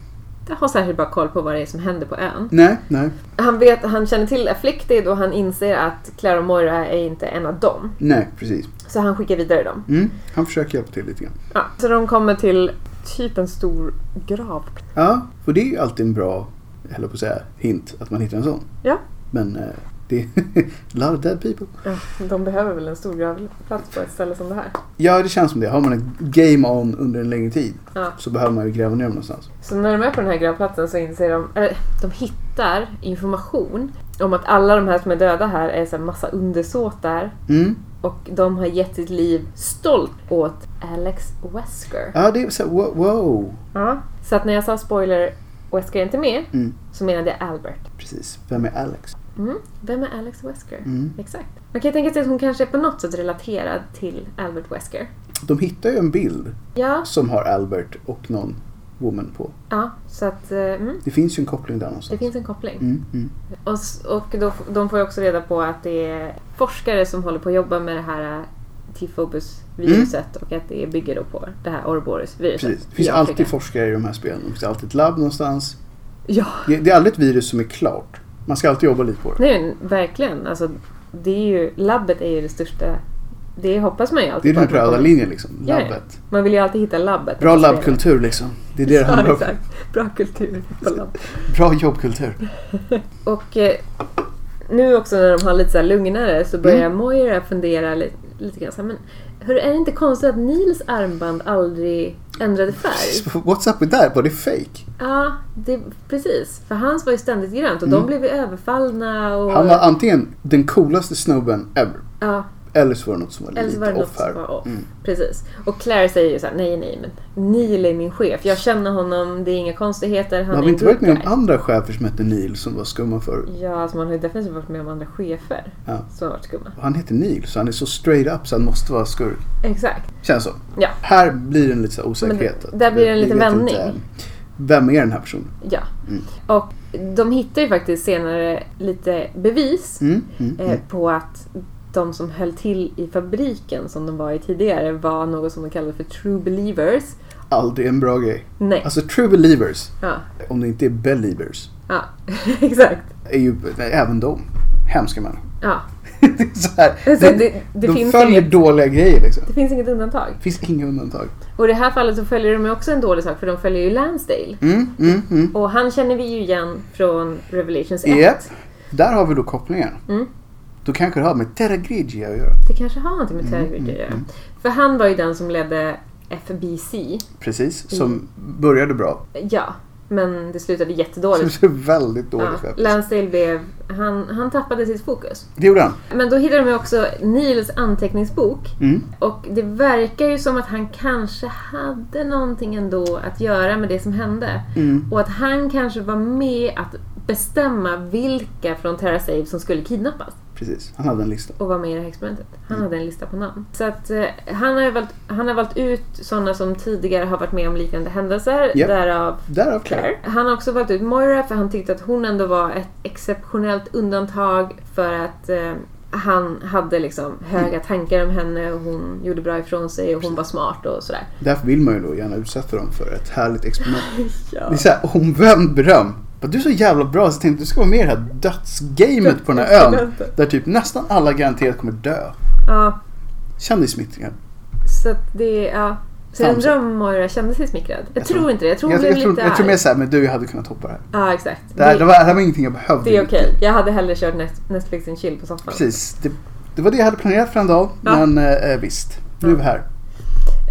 har särskilt bra koll på vad det är som händer på ön.
Nej, nej,
Han, vet, han känner till Afflicted och han inser att Clara Moira är inte en av dem.
nej, precis.
Så han skickar vidare dem.
Mm. Han försöker hjälpa till lite grann.
Ja, så de kommer till typ en stor grav.
Ja, för det är ju alltid en bra, jag höll på att säga, hint att man hittar en sån.
Ja.
Men eh, det är a lot of dead people.
Ja, de behöver väl en stor gravplats på ett ställe som det här.
Ja, det känns som det. Har man ett game on under en längre tid
Ja.
så behöver man ju gräva ner dem någonstans.
Så när de är på den här gravplatsen så inser de, eller de hittar information om att alla de här som är döda här är så här massa undersåtar
Mm.
och de har gett sitt liv stolt åt Alex Wesker.
Ja, det är så här, wo- wow.
Ja. Så att när jag sa spoiler, Wesker är inte med,
Mm.
så menade jag Albert.
Precis. Vem är Alex?
Mm. Vem är Alex Wesker?
Mm.
Exakt. Man kan ju tänka sig att hon kanske är på något sätt relaterad till Albert Wesker.
De hittar ju en bild
Ja,
som har Albert och någon woman på.
ja så att eh, mm,
Det finns ju en koppling där
det
någonstans.
finns en koppling.
Mm, mm.
Och, s- och då, f- de får ju också reda på att det är forskare som håller på att jobba med det här eh, Tifobus-viruset och att det bygger då på det här Orborus-viruset.
Mm. Precis. Det finns
i Afrika.
alltid forskare i de här spelen. Det finns alltid ett labb någonstans.
Ja,
Det, det är aldrig ett virus som är klart. Man ska alltid jobba lite på det.
nej men verkligen. Alltså, det är ju, labbet är ju det största... Det hoppas man ju
Det är
alltid
den
på att man
röda
kommer-
linjen liksom.
Ja, ja.
Labbet.
Man vill ju alltid hitta labbet.
Bra labbkultur liksom. Det är det det handlar
Ja,
om.
exakt. Bra kultur på labb.
Bra jobbkultur.
Och eh, nu också när de har lite så här lugnare så börjar
Mm.
Moira fundera lite, lite grann så här, men hur är det inte konstigt att Nils armband aldrig ändrade färg?
What's up with that? Var det fake?
Ja, det, precis. För hans var ju ständigt grönt och de blev ju överfallna och...
Mm. Han var antingen den coolaste snubben ever.
ja,
Eller så var det något som var
eller så
lite
var det något
off här.
som var off.
Mm.
Precis. Och Claire säger ju så här, nej nej men Neil är min chef. Jag känner honom, det är inga konstigheter. Han
Man har
är
vi
en
inte varit
good
med om
guy."
andra chefer som hette Neil som var skumma förut?
Ja, alltså man har ju definitivt varit med om andra chefer
Ja.
som har varit skumma.
Och Han heter Neil så han är så straight up så han måste vara skurk.
Exakt.
Känns så.
Ja.
Här blir det en lite så här osäkerhet.
Men där blir det en
Vi- vi
liten
vet
vändning.
inte än. Vem är den här personen?
Ja.
Mm.
Och de hittar ju faktiskt senare lite bevis
Mm, mm,
eh,
mm.
på att de som höll till i fabriken som de var i tidigare var något som de kallade för true believers.
Aldrig en bra grej.
Nej.
Alltså true believers,
ja.
om det inte är believers,
ja. Exakt.
är ju nej, även de hemska människor.
Ja.
Det är så här.
Alltså,
de
det, det,
de
finns
följer
inget,
dåliga grejer liksom.
det finns inget undantag.
Det finns inga undantag.
Och i det här fallet så följer de ju också en dålig sak för de följer ju Lansdale.
Mm, mm, mm.
Och han känner vi ju igen från Revelations 1.
Japp. Där har vi då kopplingen.
Mm.
Då kanske det har med Terra Grigia att göra.
Det kanske har någonting med
Mm,
Terry att göra. För han var ju den som ledde FBC. Mm.
Precis, som började bra.
Ja, Men det slutade
Som
jättedåligt.
ser väldigt dåligt
Ja,
ut.
Lansdale blev... Han, han tappade sitt fokus.
Det gjorde han.
Men då hittade de också Nils anteckningsbok.
Mm.
Och det verkar ju som att han kanske hade någonting ändå att göra med det som hände.
Mm.
Och att han kanske var med att bestämma vilka från Terra Save som skulle kidnappas
Precis, han hade en lista.
och vara med i det här experimentet. Han hade en lista på namn. Så att eh, han, har ju valt, han har valt ut sådana som tidigare har varit med om liknande händelser.
Japp.
Därav
Därav Claire.
Claire. Han har också valt ut Moira för han tyckte att hon ändå var ett exceptionellt undantag för att eh, han hade liksom höga tankar om henne och hon gjorde bra ifrån sig och hon var smart och sådär.
Därför vill man ju då gärna utsätta dem för ett härligt experiment.
Ja.
Det är såhär omvänd beröm. Bara, Du är så jävla bra så jag tänkte du ska vara med i det här dödsgamet på den här ön.
Dödsexperimentet.
Där typ nästan alla garanterat kommer dö.
ja
Kändissmittringar.
så att det, ja. Så jag
Samson.
undrar om Moira kände sig smickrad. Jag,
Jag
tror,
tror-
inte det. Jag tror hon
Jag,
blev
jag, tror,
lite
jag tror
arg.
mer såhär, men du jag hade kunnat hoppa det här.
Ja, exakt.
Det här, det var, det här var ingenting jag behövde.
Det är okej. Jag hade hellre kört Net- Netflix and chill på soffan.
Precis. Det, det var det jag hade planerat för en dag.
Ja.
Men eh, visst, nu är vi här.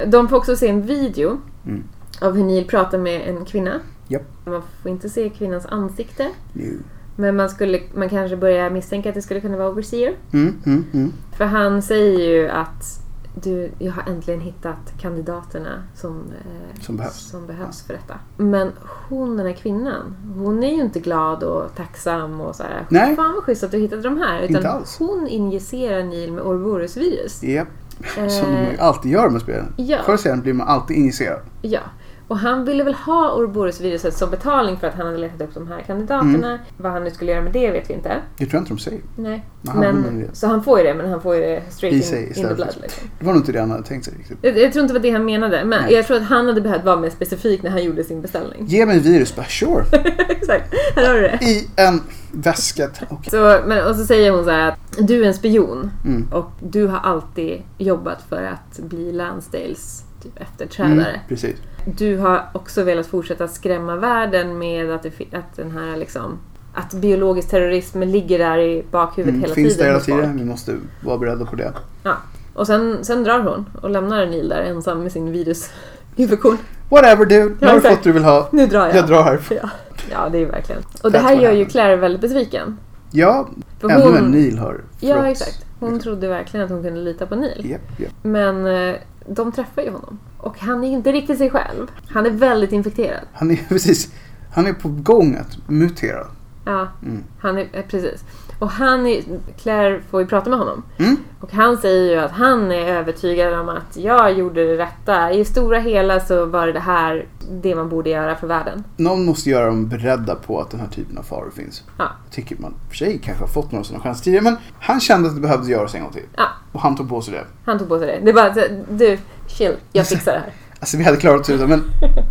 De får också se en video
Mm.
av hur Neil pratar med en kvinna.
Japp.
Man får inte se kvinnans ansikte.
Nu.
Men man, skulle, man kanske börjar misstänka att det skulle kunna vara Overseer.
Mm, mm, mm.
För han säger ju att du, jag har äntligen hittat kandidaterna som, eh,
Som behövs.
som behövs för detta. Men hon, den här kvinnan, hon är ju inte glad och tacksam och så här.
Nej.
Fan vad schysst att du hittade de här.
Inte
Utan
alls.
hon injicerar Neil med Orborusvirus.
Japp. Som
Eh,
de alltid gör med spelen.
ja.
Förr eller senare blir man alltid injicerad.
Ja. Och han ville väl ha Orborusviruset som betalning för att han hade letat upp de här kandidaterna.
Mm.
Vad han nu skulle göra med det vet vi inte.
Det tror jag inte de säger.
Nej.
Men han
men,
vinner det.
så han får ju det, men han får ju det straight
I
in,
sig
in the
istället.
blood. Liksom.
Det var nog inte det han hade tänkt sig riktigt.
Jag, jag tror inte det var det han menade, men
Nej.
jag tror att han hade behövt vara mer specifik när han gjorde sin beställning.
Ge mig virus, bara sure.
Exakt, här har du det.
I en väska. ta- Okej.
Så, men, och så säger hon så här att du är en spion
Mm.
och du har alltid jobbat för att bli Lansdales typ, efterträdare.
Mm, precis.
Du har också velat fortsätta skrämma världen med att, det, fi- att den här liksom att biologisk terrorism ligger där i bakhuvudet
Mm,
hela
finns
tiden.
det hela
hos folk.
tiden. Vi måste vara beredda på det.
Ja. Och sen, sen drar hon och lämnar Neil där ensam med sin virusinfektion.
Whatever dude, nu
Ja,
har du
exakt.
fått det du vill ha.
Nu drar jag.
Jag drar här.
Ja. ja, det är verkligen. Och det här
what
gör ju
happened.
Claire väldigt besviken.
Ja,
För
ännu en
hon-
Neil har
Ja,
förråtts.
exakt. Hon trodde verkligen att hon kunde lita på Neil.
Japp, japp.
Men eh, de träffar ju honom. Och han är inte riktigt sig själv. Han är väldigt infekterad.
Han är precis, han är på gång att mutera.
Ja,
Mm.
han är, eh, precis. Och han är, Claire får ju prata med honom.
Mm.
Och han säger ju att han är övertygad om att jag gjorde det rätta. I det stora hela så var det det här det man borde göra för världen.
Någon måste göra dem beredda på att den här typen av faror finns.
Ja.
Tycker man i och för sig kanske har fått några sådana chanser tidigare. Men han kände att det behövdes göras en gång till.
Ja.
Och han tog på sig det.
Han tog på sig det. Det är bara att eh, du, chill, jag fixar det här.
Alltså vi hade klarat oss utan men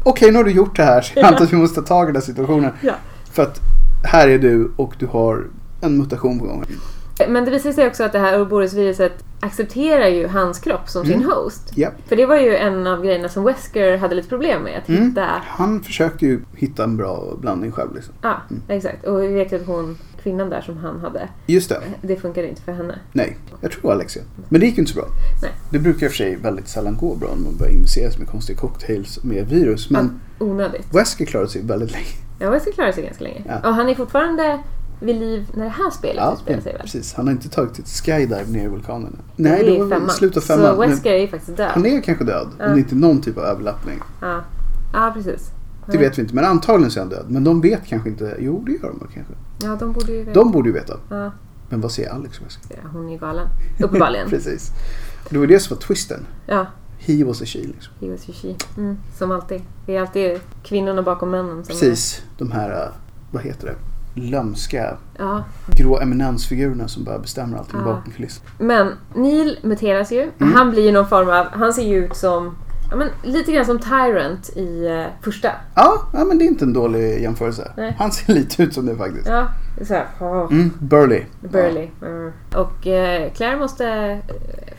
okej nu har du gjort det här så jag antar att vi måste ta tag i den här situationen.
Ja.
För att här är du och du har en mutation på gång.
Men det visar sig också att det här Ouroboros-viruset accepterar ju hans kropp som
Mm.
sin host.
Japp.
För det var ju en av grejerna som Wesker hade lite problem med. Att
Mm.
hitta...
Han försökte ju hitta en bra blandning själv liksom.
Ja, exakt. Och vi vet ju att hon, kvinnan där som han hade,
Just det,
det funkade inte för henne.
nej. Jag tror det var Alexia. Men det gick ju inte så bra.
Nej.
Det brukar i och för sig väldigt sällan gå bra när man börjar injiceras med konstiga cocktails med virus. Men
Onödigt.
Wesker klarade sig väldigt länge.
Ja, Wesker klarade sig ganska länge.
Ja.
Och han är fortfarande vid liv när det här spelet
Ja,
utspelar typ sig väl?
precis. Han har inte tagit ett skydive ner i vulkanen. Nej,
det
det
är
var
femman.
i slutet av
Så
femman. Men
Wesker är ju faktiskt död.
Han är kanske död
Ja.
om det inte är någon typ av överlappning.
Ja. ja, precis.
Det vet vi inte, men antagligen så är han död. Men de vet kanske inte. Jo, det gör de väl kanske.
Ja, de borde ju...
De borde ju veta.
Ja,
Men vad säger Alex Wesker?
ja, hon är ju galen. Uppenbarligen.
Precis. Det var det som var twisten.
ja,
He was a she liksom.
he was she. Mm, som alltid. Det är alltid kvinnorna bakom männen som...
Precis. De här, eh, vad heter det? Lömska
Ja.
grå eminensfigurerna som bara bestämmer allting
Ja.
bakom kulisserna.
Men Neil muteras ju.
Mm.
Han blir ju någon form av... Han ser ju ut som... Ja, men lite grann som Tyrant i eh, första.
Ja, ja, men det är inte en dålig jämförelse.
Nej.
Han ser lite ut som det faktiskt.
Ja, det är så här, åh,
Mm, Burley.
Burly. Mm. Och eh, Claire måste eh,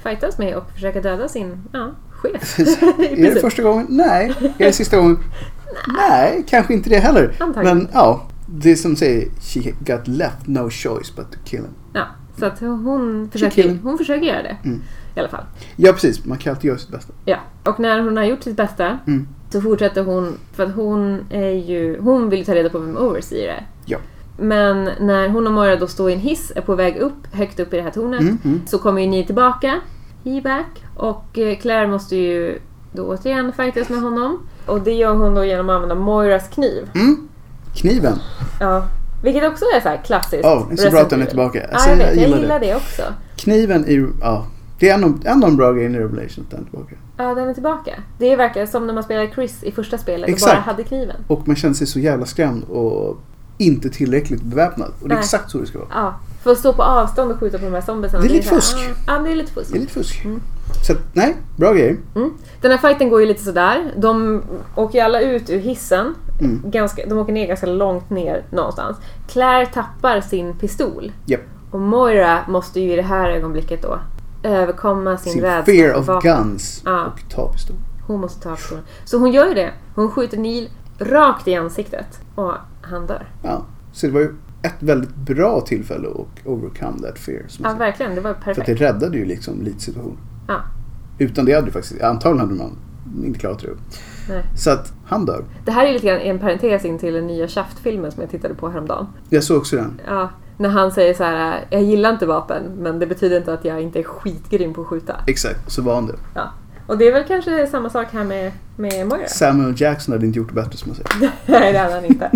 fightas med och försöka döda sin ja, chef. I
Är det
princip.
första gången? Nej. Är det sista gången? Nej, kanske inte det heller.
Antagligen.
Men ja, det är som säger, she got left no choice but to kill him.
Ja. Så att hon
killing.
försöker, hon försöker göra det.
Mm.
I alla fall.
Ja, precis. Man kan alltid göra sitt bästa.
Ja. Och när hon har gjort sitt bästa
Mm.
så fortsätter hon, för att hon är ju, hon vill ju ta reda på vem Overseer är.
Ja.
Men när hon och Moira då står i en hiss, är på väg upp, högt upp i det här tornet,
Mm, mm.
så kommer ju ni tillbaka, he back, och eh, Claire måste ju då återigen fightas med honom. Och det gör hon då genom att använda Moiras kniv.
Mm. Kniven.
Ja. Vilket också är så här klassiskt.
Åh, det är så bra att den är
Resident
tillbaka.
Evil.
Alltså,
ja, jag,
jag
vet, jag
gillar
gillar,
det.
det. också.
Kniven är ju... Ja. Det är en av, en av de bra grejerna i Revelation att den är tillbaka.
Ja, den är tillbaka. Det verkar som när man spelade Chris i första spelet och
Exakt.
bara hade kniven.
Och man känner sig så jävla skrämd och inte tillräckligt beväpnad. Och det är
Nej.
exakt så det ska vara.
Ja, för att stå på avstånd och skjuta på de här zombiesarna.
Det är lite
så här,
fusk.
ah, Ja, det är lite fusk.
Det är lite fusk. Så att, nej, bra grej.
Mm. Den här fighten går ju lite sådär. De åker ju alla ut ur hissen.
Mm.
Ganska, de åker ner ganska långt ner någonstans. Claire tappar sin pistol.
Japp.
Och Moira måste ju i det här ögonblicket då överkomma sin,
Sin
rädsla.
fear
för
of
vapen.
guns.
Ja.
Och ta pistol.
Hon måste ta pistolen. Så hon gör ju det. Hon skjuter Neil rakt i ansiktet. Och han dör.
Ja. Så det var ju ett väldigt bra tillfälle att overcome that fear. Som
Ja,
man säger.
verkligen. Det var
För att
perfekt.
det räddade ju liksom lite situationen.
Ja.
Utan det hade du faktiskt, antagligen hade man inte klarat det.
Nej.
Så att han dör.
Det här är lite grann en parentes in till den nya Shaft-filmen som jag tittade på häromdagen.
Jag såg också den.
Ja, när han säger så här, jag gillar inte vapen men det betyder inte att jag inte är skitgrym på att skjuta.
Exakt, så var han det.
Ja. Och det är väl kanske samma sak här med, med Moira?
Samuel Jackson hade inte gjort det bättre som man säger.
Nej, det hade han inte.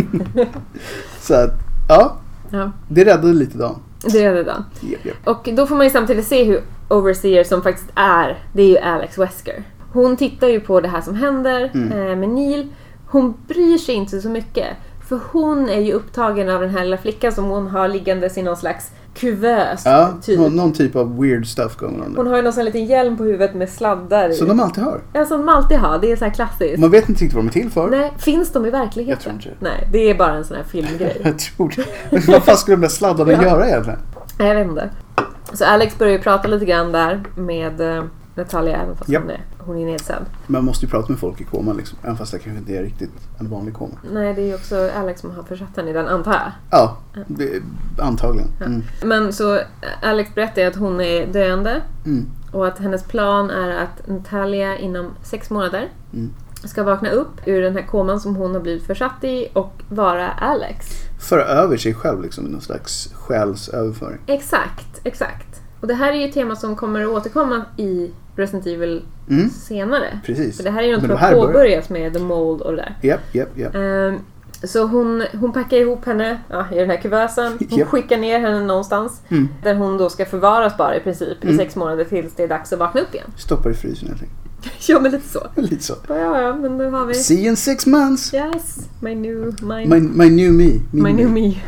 Så att, ja.
ja,
Det räddade lite dagen.
det är det då.
Japp, japp.
Och då får man ju samtidigt se hur Overseer som faktiskt är, det är ju Alex Wesker. Hon tittar ju på det här som händer eh, med Neil. Hon bryr sig inte så mycket. För hon är ju upptagen av den här lilla flickan som hon har liggandes i någon slags kuvös.
Ja,
typ.
någon, någon typ av weird stuff going on
Hon
där.
har ju någon sån liten hjälm på huvudet med sladdar i.
Som de alltid har.
Ja, som de alltid har. Det är så här klassiskt.
Man vet inte riktigt vad de är till för.
Nej, finns de i verkligheten?
Jag tror inte det.
Nej, det är bara en sån här filmgrej.
Jag tror det. Vad fan skulle de där sladdarna
Ja.
göra egentligen?
Nej, jag vet inte. Så Alex börjar ju prata lite grann där med eh, Natalia även fast
Japp.
hon, är, hon är nedsedd.
Man måste ju prata med folk i koma liksom. Även fast det kanske inte är riktigt en vanlig koma.
Nej, det är ju också Alex som har försatt henne i den antar jag.
Ja, det, antagligen. Mm.
Men så eh, Alex berättar ju att hon är döende
Mm.
och att hennes plan är att Natalia inom sex månader
Mm.
ska vakna upp ur den här koman som hon har blivit försatt i och vara Alex.
Föra över sig själv liksom i någon slags själsöverföring.
Exakt, exakt. Och det här är ju ett tema som kommer att återkomma i Resident Evil
Mm.
senare.
Precis.
För det här är ju något
Men
som
det
har
här börjar-
påbörjat med The Mold och det där.
Japp, japp, japp.
Ehm, så hon, hon packar ihop henne ja, i den här kuvösen. Hon
Japp.
skickar ner henne någonstans.
Mm.
Där hon då ska förvaras bara i princip i sex månader tills det är dags att vakna upp igen.
Stoppar i frysen helt enkelt.
ja men lite så.
Lite så.
Ja, ja, ja, men nu har vi...
See you in six months!
Yes, my new... My,
My,
my,
my new me. Min
new me.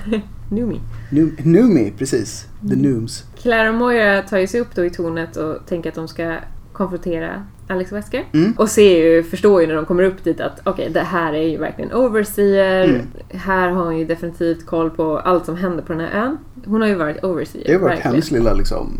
new me.
New, new me, precis. The
Mm.
Nooms.
Claire och Moira tar ju sig upp då i tornet och tänker att de ska konfrontera Alex Wesker.
Mm.
Och ser ju, förstår ju när de kommer upp dit att okej, det här är ju verkligen overseer.
Mm.
Här har hon ju definitivt koll på allt som händer på den här ön. Hon har ju varit overseer.
Det har varit
verkligen.
hennes lilla liksom...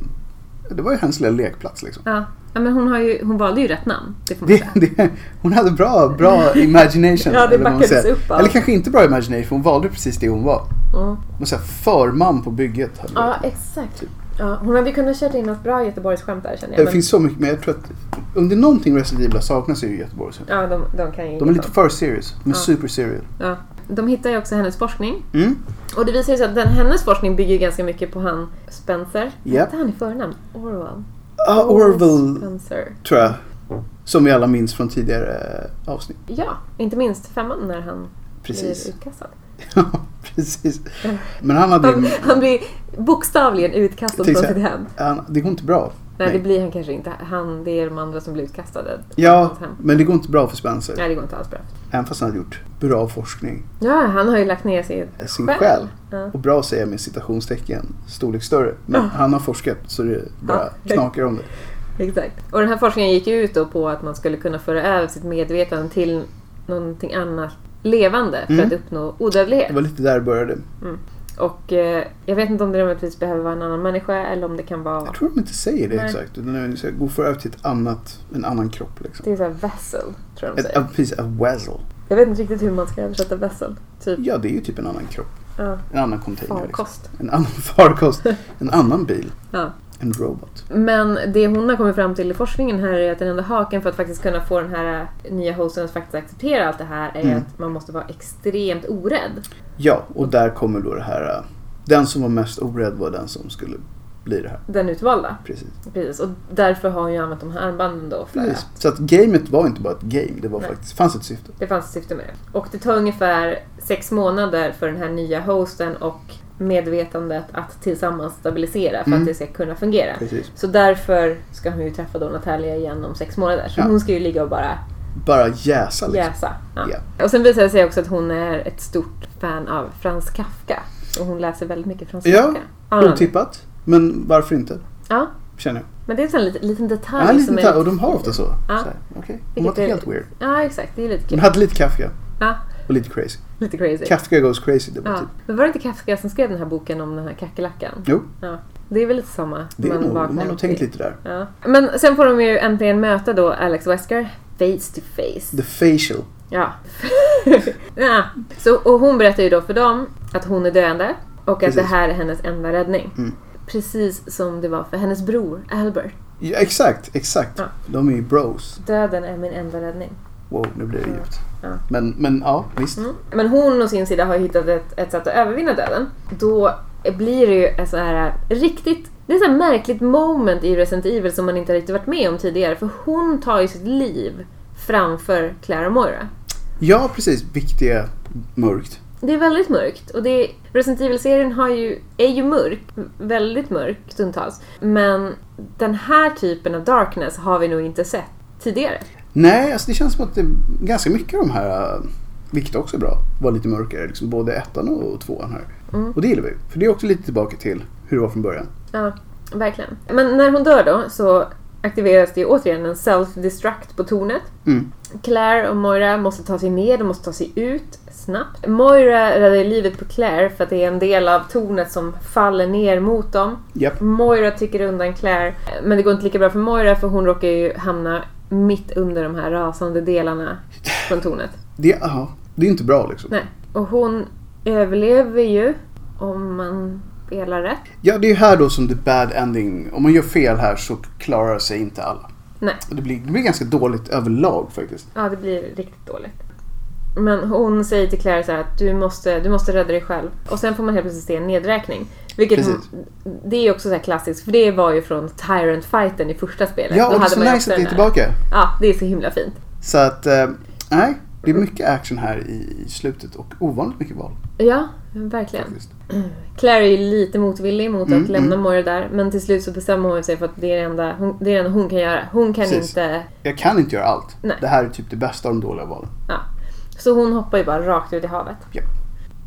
Det var ju hennes lilla lekplats liksom.
Ja. ja, men hon, har ju, hon valde ju rätt namn. Det får man
Det,
säga.
det, hon hade bra, bra imagination.
Ja, det
eller vad man
backades
säger.
upp av-
Eller kanske inte bra imagination, för hon valde precis det hon var.
Mm.
Hon sa förman på bygget. Hade
Ja,
varit.
exakt. Ja, hon hade ju kunnat köra in något bra Göteborgsskämt där känner jag.
Det
men-
finns så mycket, men jag tror att om det är någonting Resident Evil har saknat så är det Göteborg.
Ja, de, de kan ju
De är
inget
lite för serious. De är
Ja.
super serious.
om. ja. De hittar ju också hennes forskning.
Mm.
Och det visar ju sig att den, hennes forskning bygger ganska mycket på han Spencer.
Ja.
Hette han i förnamn? Orwell.
Ah, Orville,
Spencer.
tror jag. Som vi alla minns från tidigare eh, avsnitt.
Ja, inte minst femman när han
Precis.
blir utkastad.
Ja, precis. Men han hade
Han,
ju...
han blir bokstavligen utkastad
Till
från
exempel.
sitt hem.
Han, det går inte bra.
Nej,
Nej.
det blir han kanske inte. Han, det är de andra som blir utkastade. från
Ja,
hans hem.
men det går inte bra för Spencer.
Nej, det går inte alls bra.
Även fast han har gjort bra forskning.
Ja, han har ju lagt ner sin,
Sin själ.
Ja.
Och bra säger jag med citationstecken. Storlek större. Men
Ja.
han har forskat så det bara
Ja.
knakar om det.
Exakt. Och den här forskningen gick ju ut då på att man skulle kunna föra över sitt medvetande till någonting annat levande för
Mm.
att uppnå
Det
odödlighet.
var lite där det började.
Och eh, jag vet inte om det nödvändigtvis behöver vara en annan människa eller om det kan vara...
Jag tror de inte säger det
Nej.
exakt. Utan nu ska jag gå för över till ett annat, en annan kropp liksom.
Det är såhär vessel, tror jag de
Ett,
säger.
ja, precis, a weasel.
Jag vet inte riktigt hur man ska översätta vessel. Typ.
Ja, det är ju typ en annan kropp.
Ja.
En annan container. Liksom.
Farkost.
En annan farkost. En annan bil.
Ja.
En robot.
Men det hon har kommit fram till i forskningen här är att den enda haken för att faktiskt kunna få den här eh, nya hosten att faktiskt acceptera allt det här är
Mm.
att man måste vara extremt orädd.
Ja, och där kommer då det här. eh, Den som var mest orädd var den som skulle bli det här.
Den utvalda.
Precis.
Precis. Och därför har hon ju använt de här armbanden då. För
Precis.
att
Så att gamet var inte bara ett game. Det var
Nej.
faktiskt, fanns ett syfte.
det fanns ett syfte med det. Och det tar ungefär sex månader för den här nya hosten och medvetandet att tillsammans stabilisera för
Mm.
att det ska kunna fungera.
Precis.
Så därför ska hon ju träffa då Natalia igen om sex månader. Så
Ja.
hon ska ju ligga och bara
Bara jäsa liksom.
jäsa. Ja.
Ja.
Och sen visar det sig också att hon är ett stort fan av Frans Kafka. Och hon läser väldigt mycket Frans
Ja,
Kafka. Ja,
Otippat. Men varför inte?
ja,
Känner jag.
men det är en sån liten, liten detalj.
Ja, lite
som är
detalj,
lite-
och de har ofta så.
Ja.
så här, Okej. De var
Vilket
inte
är-
helt weird.
Ja, exakt. Det är lite
De
kul.
hade lite Kafka
Ja,
och lite crazy.
lite crazy.
Kafka goes crazy. Det var
Ja.
typ.
Men var det inte Kafka som skrev den här boken om den här kackerlackan?
Jo,
Ja. Det är väl lite samma.
det är nog, de
vaknar
har nog
upp
tänkt
i-
lite där.
Ja. Men sen får de ju äntligen möta då Alex Wesker face to face.
The facial.
Ja. ja. Så, och hon berättar ju då för dem att hon är döende och att
Precis.
det här är hennes enda räddning.
Mm.
Precis som det var för hennes bror Albert.
Ja, exakt, exakt.
Ja.
De är ju bros.
Döden är min enda räddning.
Wow, nu blir det djupt.
Ja.
Men, men ja, visst.
Mm. Men hon å sin sida har ju hittat ett, ett sätt att övervinna döden. Då blir det ju ett så här äh, riktigt... Det är ett så här märkligt moment i Resident Evil som man inte riktigt varit med om tidigare. För hon tar ju sitt liv framför Clara och Moira.
Ja, precis. Viktiga mörkt.
Det är väldigt mörkt. Och det, Resident Evil-serien har ju, är ju mörk. Väldigt mörk stundtals. Men den här typen av darkness har vi nog inte sett tidigare.
Nej, alltså det känns som att det är ganska mycket av de här, äh, vilket också är bra, var lite mörkare. Liksom både ettan och tvåan här.
Mm.
Och det gillar vi. För det är också lite tillbaka till hur det var från början.
Ja, verkligen. Men när hon dör då så aktiveras det ju återigen en self-destruct på tornet.
Mm.
Claire och Moira måste ta sig ner, de måste ta sig ut snabbt. Moira räddar ju livet på Claire för att det är en del av tornet som faller ner mot dem.
Japp.
Moira tycker undan Claire, men det går inte lika bra för Moira för hon råkar ju hamna mitt under de här rasande delarna från tornet.
Det, aha, det är inte bra liksom.
Nej. Och hon överlever ju, om man spelar rätt.
Ja, det är ju här då som the bad ending. Om man gör fel här så klarar sig inte alla.
Nej.
Och Det blir, det blir ganska dåligt överlag faktiskt.
Ja, det blir riktigt dåligt. Men hon säger till Claire så här att du måste, du måste rädda dig själv. Och sen får man helt plötsligt se en nedräkning. Vilket
Precis.
det är också så här klassiskt, för det var ju från Tyrant fighten i första spelet.
Ja, och det är
hade
så
man ju eh,
nice
också
att det är
den här-
tillbaka.
Ja, det är så himla fint.
Så att, eh, nej. Det är mycket action här i i slutet och ovanligt mycket val.
Ja, verkligen.
Faktiskt.
Claire är ju lite motvillig mot
Mm,
att lämna Moira där, men till slut så bestämmer hon sig för att det är det enda hon, det är det enda hon kan göra. Hon kan
Precis.
inte...
Jag kan inte göra allt.
Nej.
Det här är typ det bästa av de dåliga valen.
Ja. Så hon hoppar ju bara rakt ut i havet.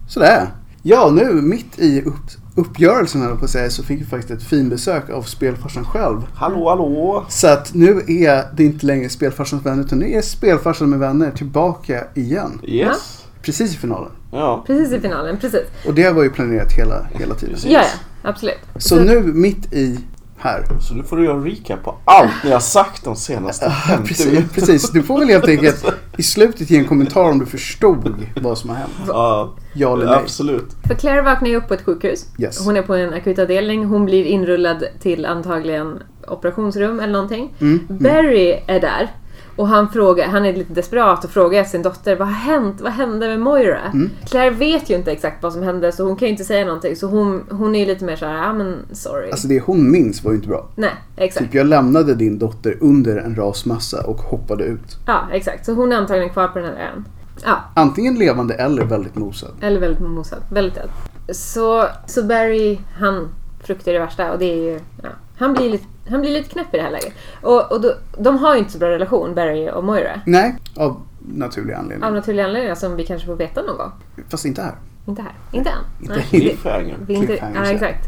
Sådär. Ja, nu mitt i upp, uppgörelsen höll jag på att säga så fick vi faktiskt ett fin besök av spelfarsan själv.
Hallå, hallå!
Så att nu är det inte längre spelfarsans vänner utan nu är spelfarsan med vänner tillbaka igen.
Yes.
Precis i finalen.
Ja,
Precis i
Mm.
finalen, precis.
Och det var ju planerat hela, hela tiden.
Precis.
Ja, ja, absolut.
Så nu mitt i här.
så nu får du göra en recap på allt ni har sagt de senaste 50
Precis,
minuterna.
precis, du får väl helt enkelt i slutet ge en kommentar om du förstod vad som har hänt.
Ja,
Ja eller nej.
absolut.
För Claire vaknar ju upp på ett sjukhus.
Yes.
Hon är på en akutavdelning. Hon blir inrullad till antagligen operationsrum eller någonting.
Mm, mm.
Barry är där. Och han, frågar, han är lite desperat och frågar sin dotter vad har hänt? Vad hände med Moira?
Mm.
Claire vet ju inte exakt vad som hände så hon kan ju inte säga någonting. Så hon, hon är ju lite mer såhär, ja ah, men sorry.
Alltså det hon minns var ju inte bra.
Nej, exakt.
Typ jag lämnade din dotter under en rasmassa och hoppade ut.
Ja, exakt. Så hon är antagligen kvar på den här ön. Ja,
Antingen levande eller väldigt mosad.
eller väldigt mosad. Väldigt död. Så, så Barry, han fruktar det värsta och det är ju... Ja, han, blir lite, han blir lite knäpp i det här läget. Och, och då, de har ju inte så bra relation, Barry och Moira.
Nej, av naturliga
Av
anledningar.
naturliga anledningar som vi kanske får veta någon gång.
Fast inte här.
Inte här. Inte än.
Inte
Nej.
hit.
Cliffhanger.
Vi är inte,
Cliffhanger,
ja,
så.
exakt.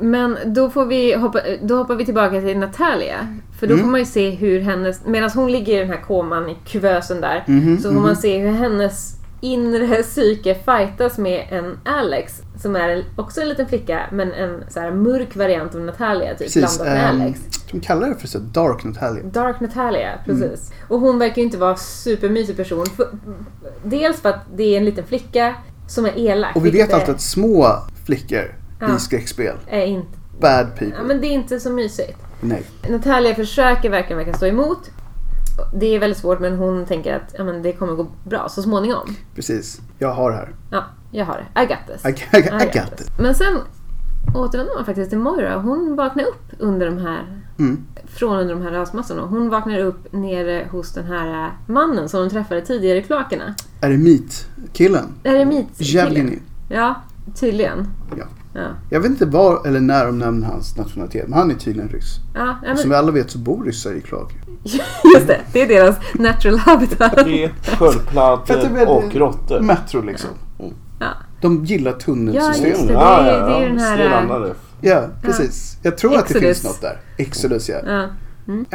Men då, får vi hoppa, då hoppar vi tillbaka till Natalia. För då
Mm.
får man ju se hur hennes... Medan hon ligger i den här koman i kuvösen där.
Mhm,
så får man se hur hennes inre psyke fightas med en Alex. Som är en- också en liten flicka, men en så här mörk variant av Natalia. Typ,
Precis.
blandat med
ehm,
Alex.
de kallar det för så här Dark Natalia.
Dark Natalia, precis. Och hon verkar ju inte vara supermysig person. För, dels för att det är en liten flicka Som är elak.
Och vi
vilket
vet alltid att små flickor
Ja.
i skräckspel,
är, är inte...
bad people,
Ja, men det är inte så mysigt.
nej.
Natalia försöker verkligen, verkligen stå emot. Det är väldigt svårt men hon tänker att ja, men det kommer gå bra så småningom.
Precis, jag har här.
Ja, jag har det. I got this.
I, I, I
I
got it.
Men sen återvänder man faktiskt till Moira. Hon vaknar upp under de här
Mm.
från under de här rasmassorna. Hon vaknar upp nere hos den här eh, mannen som hon träffade tidigare i klakerna.
Eremitkillen,
Eremit.
Javlinin.
Ja, tydligen.
Mm. Ja.
Ja,
Jag vet inte var eller när de nämner hans nationalitet, men han är tydligen ryss.
ja, ja
Och Som
men,
vi alla vet så bor ryssar i kloaker.
just det. Det är deras natural habitat.
Det
För
är
att det är
sköldpaddor och
väldigt-
råttor.
Metro liksom.
Ja.
De gillar
Ja, just det.
tunnelsystemet.
är-
Ja,
det är
ja, ja.
ju den här-
Stenandare.
Ja, precis. Jag tror att det
Exodus.
finns något där. Exodus ja.
Ja.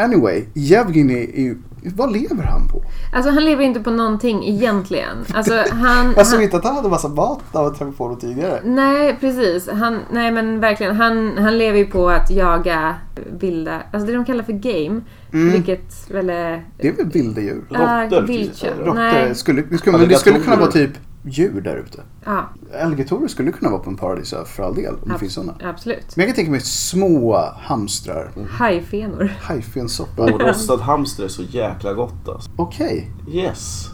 Anyway, Jevgenij är ju... Vad lever han på?
Alltså han lever ju inte på någonting egentligen. Alltså han...
Jag såg
han
inte att han hade massa mat av att träffa på honom tidigare.
nej, precis. Han, nej men verkligen. Han, han lever ju på att jaga vilda... Alltså det de kallar för game. Vilket väl är...
Det är väl vilddjur?
Ja,
Mm. Råttor,
viltkött.
typ.
Råttor
Nej.
skulle, det skulle, men det skulle kunna vara typ
Alligatorer.
djur där ute.
Ja,
Alligatorer skulle kunna vara på en paradisö för all del, om det finns sådana.
absolut.
Men jag kan tänka mig små hamstrar,
Hajfenor.
hajfenssoppa.
Och rostad hamster är så jäkla gott alltså.
Okej,
Yes.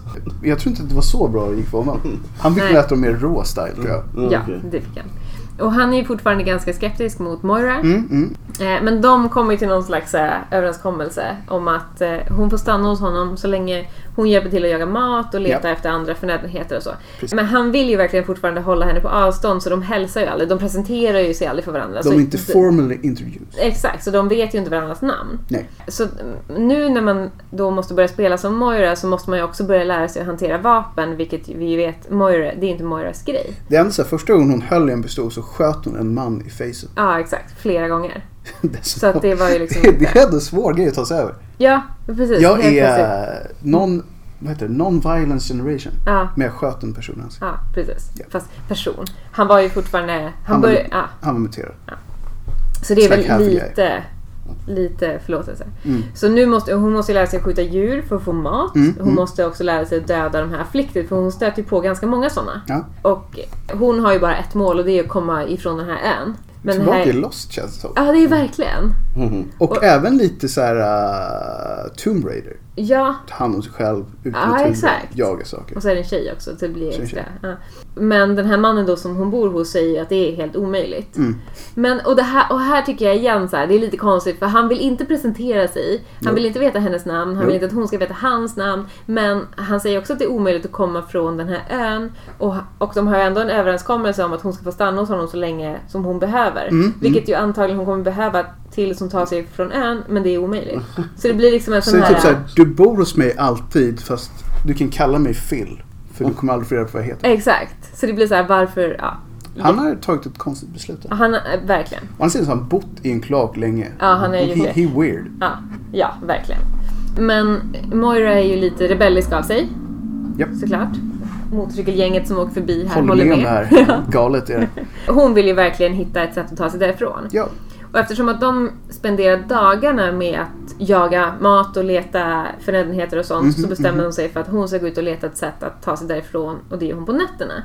jag tror inte att det var så bra det gick för honom. Han fick
Nej.
väl äta dem mer rå style tror jag.
Mm,
Ja,
okej.
det fick han. Och han är ju fortfarande ganska skeptisk mot Moira.
Mm, mm.
Eh, Men de kommer ju till någon slags eh, överenskommelse om att eh, hon får stanna hos honom så länge hon hjälper till att jaga mat och leta
Ja.
efter andra förnödenheter och så.
Precis.
Men han vill ju verkligen fortfarande hålla henne på avstånd så de hälsar ju aldrig. De presenterar ju sig aldrig för varandra.
De
så
är inte formally introduced.
Exakt, så de vet ju inte varandras namn.
Nej.
Så mm, nu när man då måste börja spela som Moira så måste man ju också börja lära sig att hantera vapen, vilket vi ju vet, Moira, det är inte Moiras grej.
Det enda så här, första gången hon höll i en pistol så sköt hon en man i facet.
Ja, exakt. Flera gånger.
Dessutom.
Så att det var ju liksom
Det,
inte-
det är ändå en svår grej att ta sig över.
Ja, precis.
Jag
Helt plötsligt.
är eh, non, vad heter det? non-violence generation.
Ja.
Men jag sköt en person alltså.
Ja, precis.
Ja.
Fast person. Han var ju fortfarande... Han,
Han var
började,
lite-
ja,
Han var muterad.
så det är
slack half
väl
guy.
lite, lite förlåtelse.
Mm.
Så nu måste hon måste lära sig skjuta djur för att få mat.
Mm,
Hon
mm.
måste också lära sig att döda de här flicktigt för hon stöter ju på ganska många sådana.
Ja.
Och hon har ju bara ett mål och det är att komma ifrån den här ön. Men den
Tillbaka i
här,
Lost känns det som.
Ja, det är verkligen.
Mhm.
Och,
och-
även lite så här eh, Tomb Raider.
Ja,
Ta hand om sig själv, ut i
Ja,
naturen,
exakt.
jaga saker.
Och så är det en tjej också, så det blir
Så en
extra. Ja. Men den här mannen då som hon bor hos säger ju att det är helt omöjligt.
Mm.
Men, och, det här, och här tycker jag igen så här, det är lite konstigt för han vill inte presentera sig. Han
Jo.
vill inte veta hennes namn, han
Jo.
vill inte att hon ska veta hans namn. Men han säger också att det är omöjligt att komma från den här ön. Och, och de har ju ändå en överenskommelse om att hon ska få stanna hos honom så länge som hon behöver.
Mm,
Vilket ju antagligen hon kommer behöva tills hon tar sig från ön, men det är omöjligt. Så det blir liksom en
Så
sån
det är
här...
typ så här, du bor hos mig alltid fast du kan kalla mig Phil. För
Mm.
du kommer aldrig få reda på vad jag heter.
Exakt. Så det blir så här, varför... Ja.
Han har tagit ett konstigt beslut. där.
Ja, Han, eh, verkligen.
Å andra sidan så har han bott i en kloak länge.
Ja, han är ju
he,
det.
he weird.
Ja, ja, verkligen. Men Moira är ju lite rebellisk av sig.
Japp.
Såklart. Motorcykelgänget som åker förbi här
Håller,
håller,
med om det
med.
här. Galet är det.
Hon vill ju verkligen hitta ett sätt att ta sig därifrån.
Ja,
Och eftersom att de spenderar dagarna med att jaga mat och leta förnödenheter och sånt
Mhm,
så bestämmer de sig för att hon ska gå ut och leta ett sätt att ta sig därifrån och det gör hon på nätterna.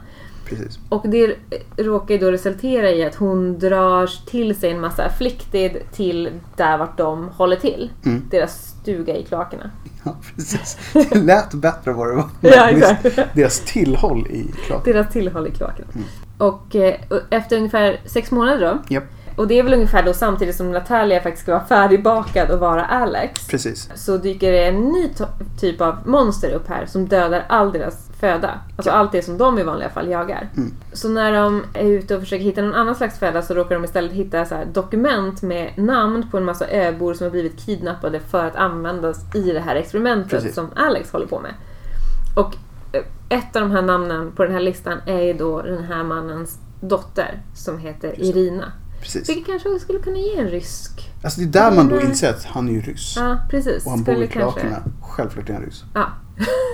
precis.
Och det råkar ju då resultera i att hon drar till sig en massa afflicted till där vart de håller till. Deras stuga i kloakerna.
Ja, precis. Det lät bättre än vad det var.
Ja, exakt.
Visst, Deras tillhåll i klart.
Deras tillhåll i kloakerna. Och, eh, och efter ungefär sex månader då.
Japp,
Och det är väl ungefär då samtidigt som Natalia faktiskt ska vara färdigbakad och vara Alex.
precis.
Så dyker det en ny to- typ av monster upp här som dödar all deras föda. Alltså allt det som de i vanliga fall jagar.
Mm.
Så när de är ute och försöker hitta någon annan slags föda så råkar de istället hitta så här dokument med namn på en massa öbor som har blivit kidnappade för att användas i det här experimentet
Precis.
som Alex håller på med. Och eh, ett av de här namnen på den här listan är ju då den här mannens dotter som heter Irina.
precis.
Vilket kanske skulle kunna ge en rysk...
Alltså det är där man då inser att han är ju ryss.
Ja, precis.
Och han bor
skulle
i kloakerna. Självklart är han ryss.
Ja,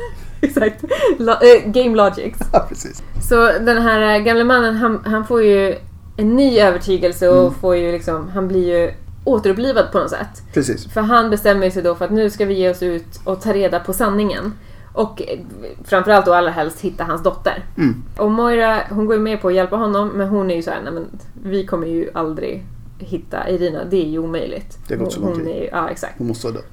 exakt. Lo- eh, game logics.
Ja, precis.
Så den här eh, gamle mannen, han, han får ju en ny övertygelse
Mm.
och får ju liksom, han blir ju återupplivad på något sätt.
Precis.
För han bestämmer sig då för att nu ska vi ge oss ut och ta reda på sanningen. Och eh, framförallt och allra helst hitta hans dotter.
Mm.
Och Moira, hon går ju med på att hjälpa honom men hon är ju såhär, nej men vi kommer ju aldrig hitta Irina, det är ju omöjligt.
Det har gått så lång
Hon
tid.
är ju- Ja, exakt.
Hon måste vara död.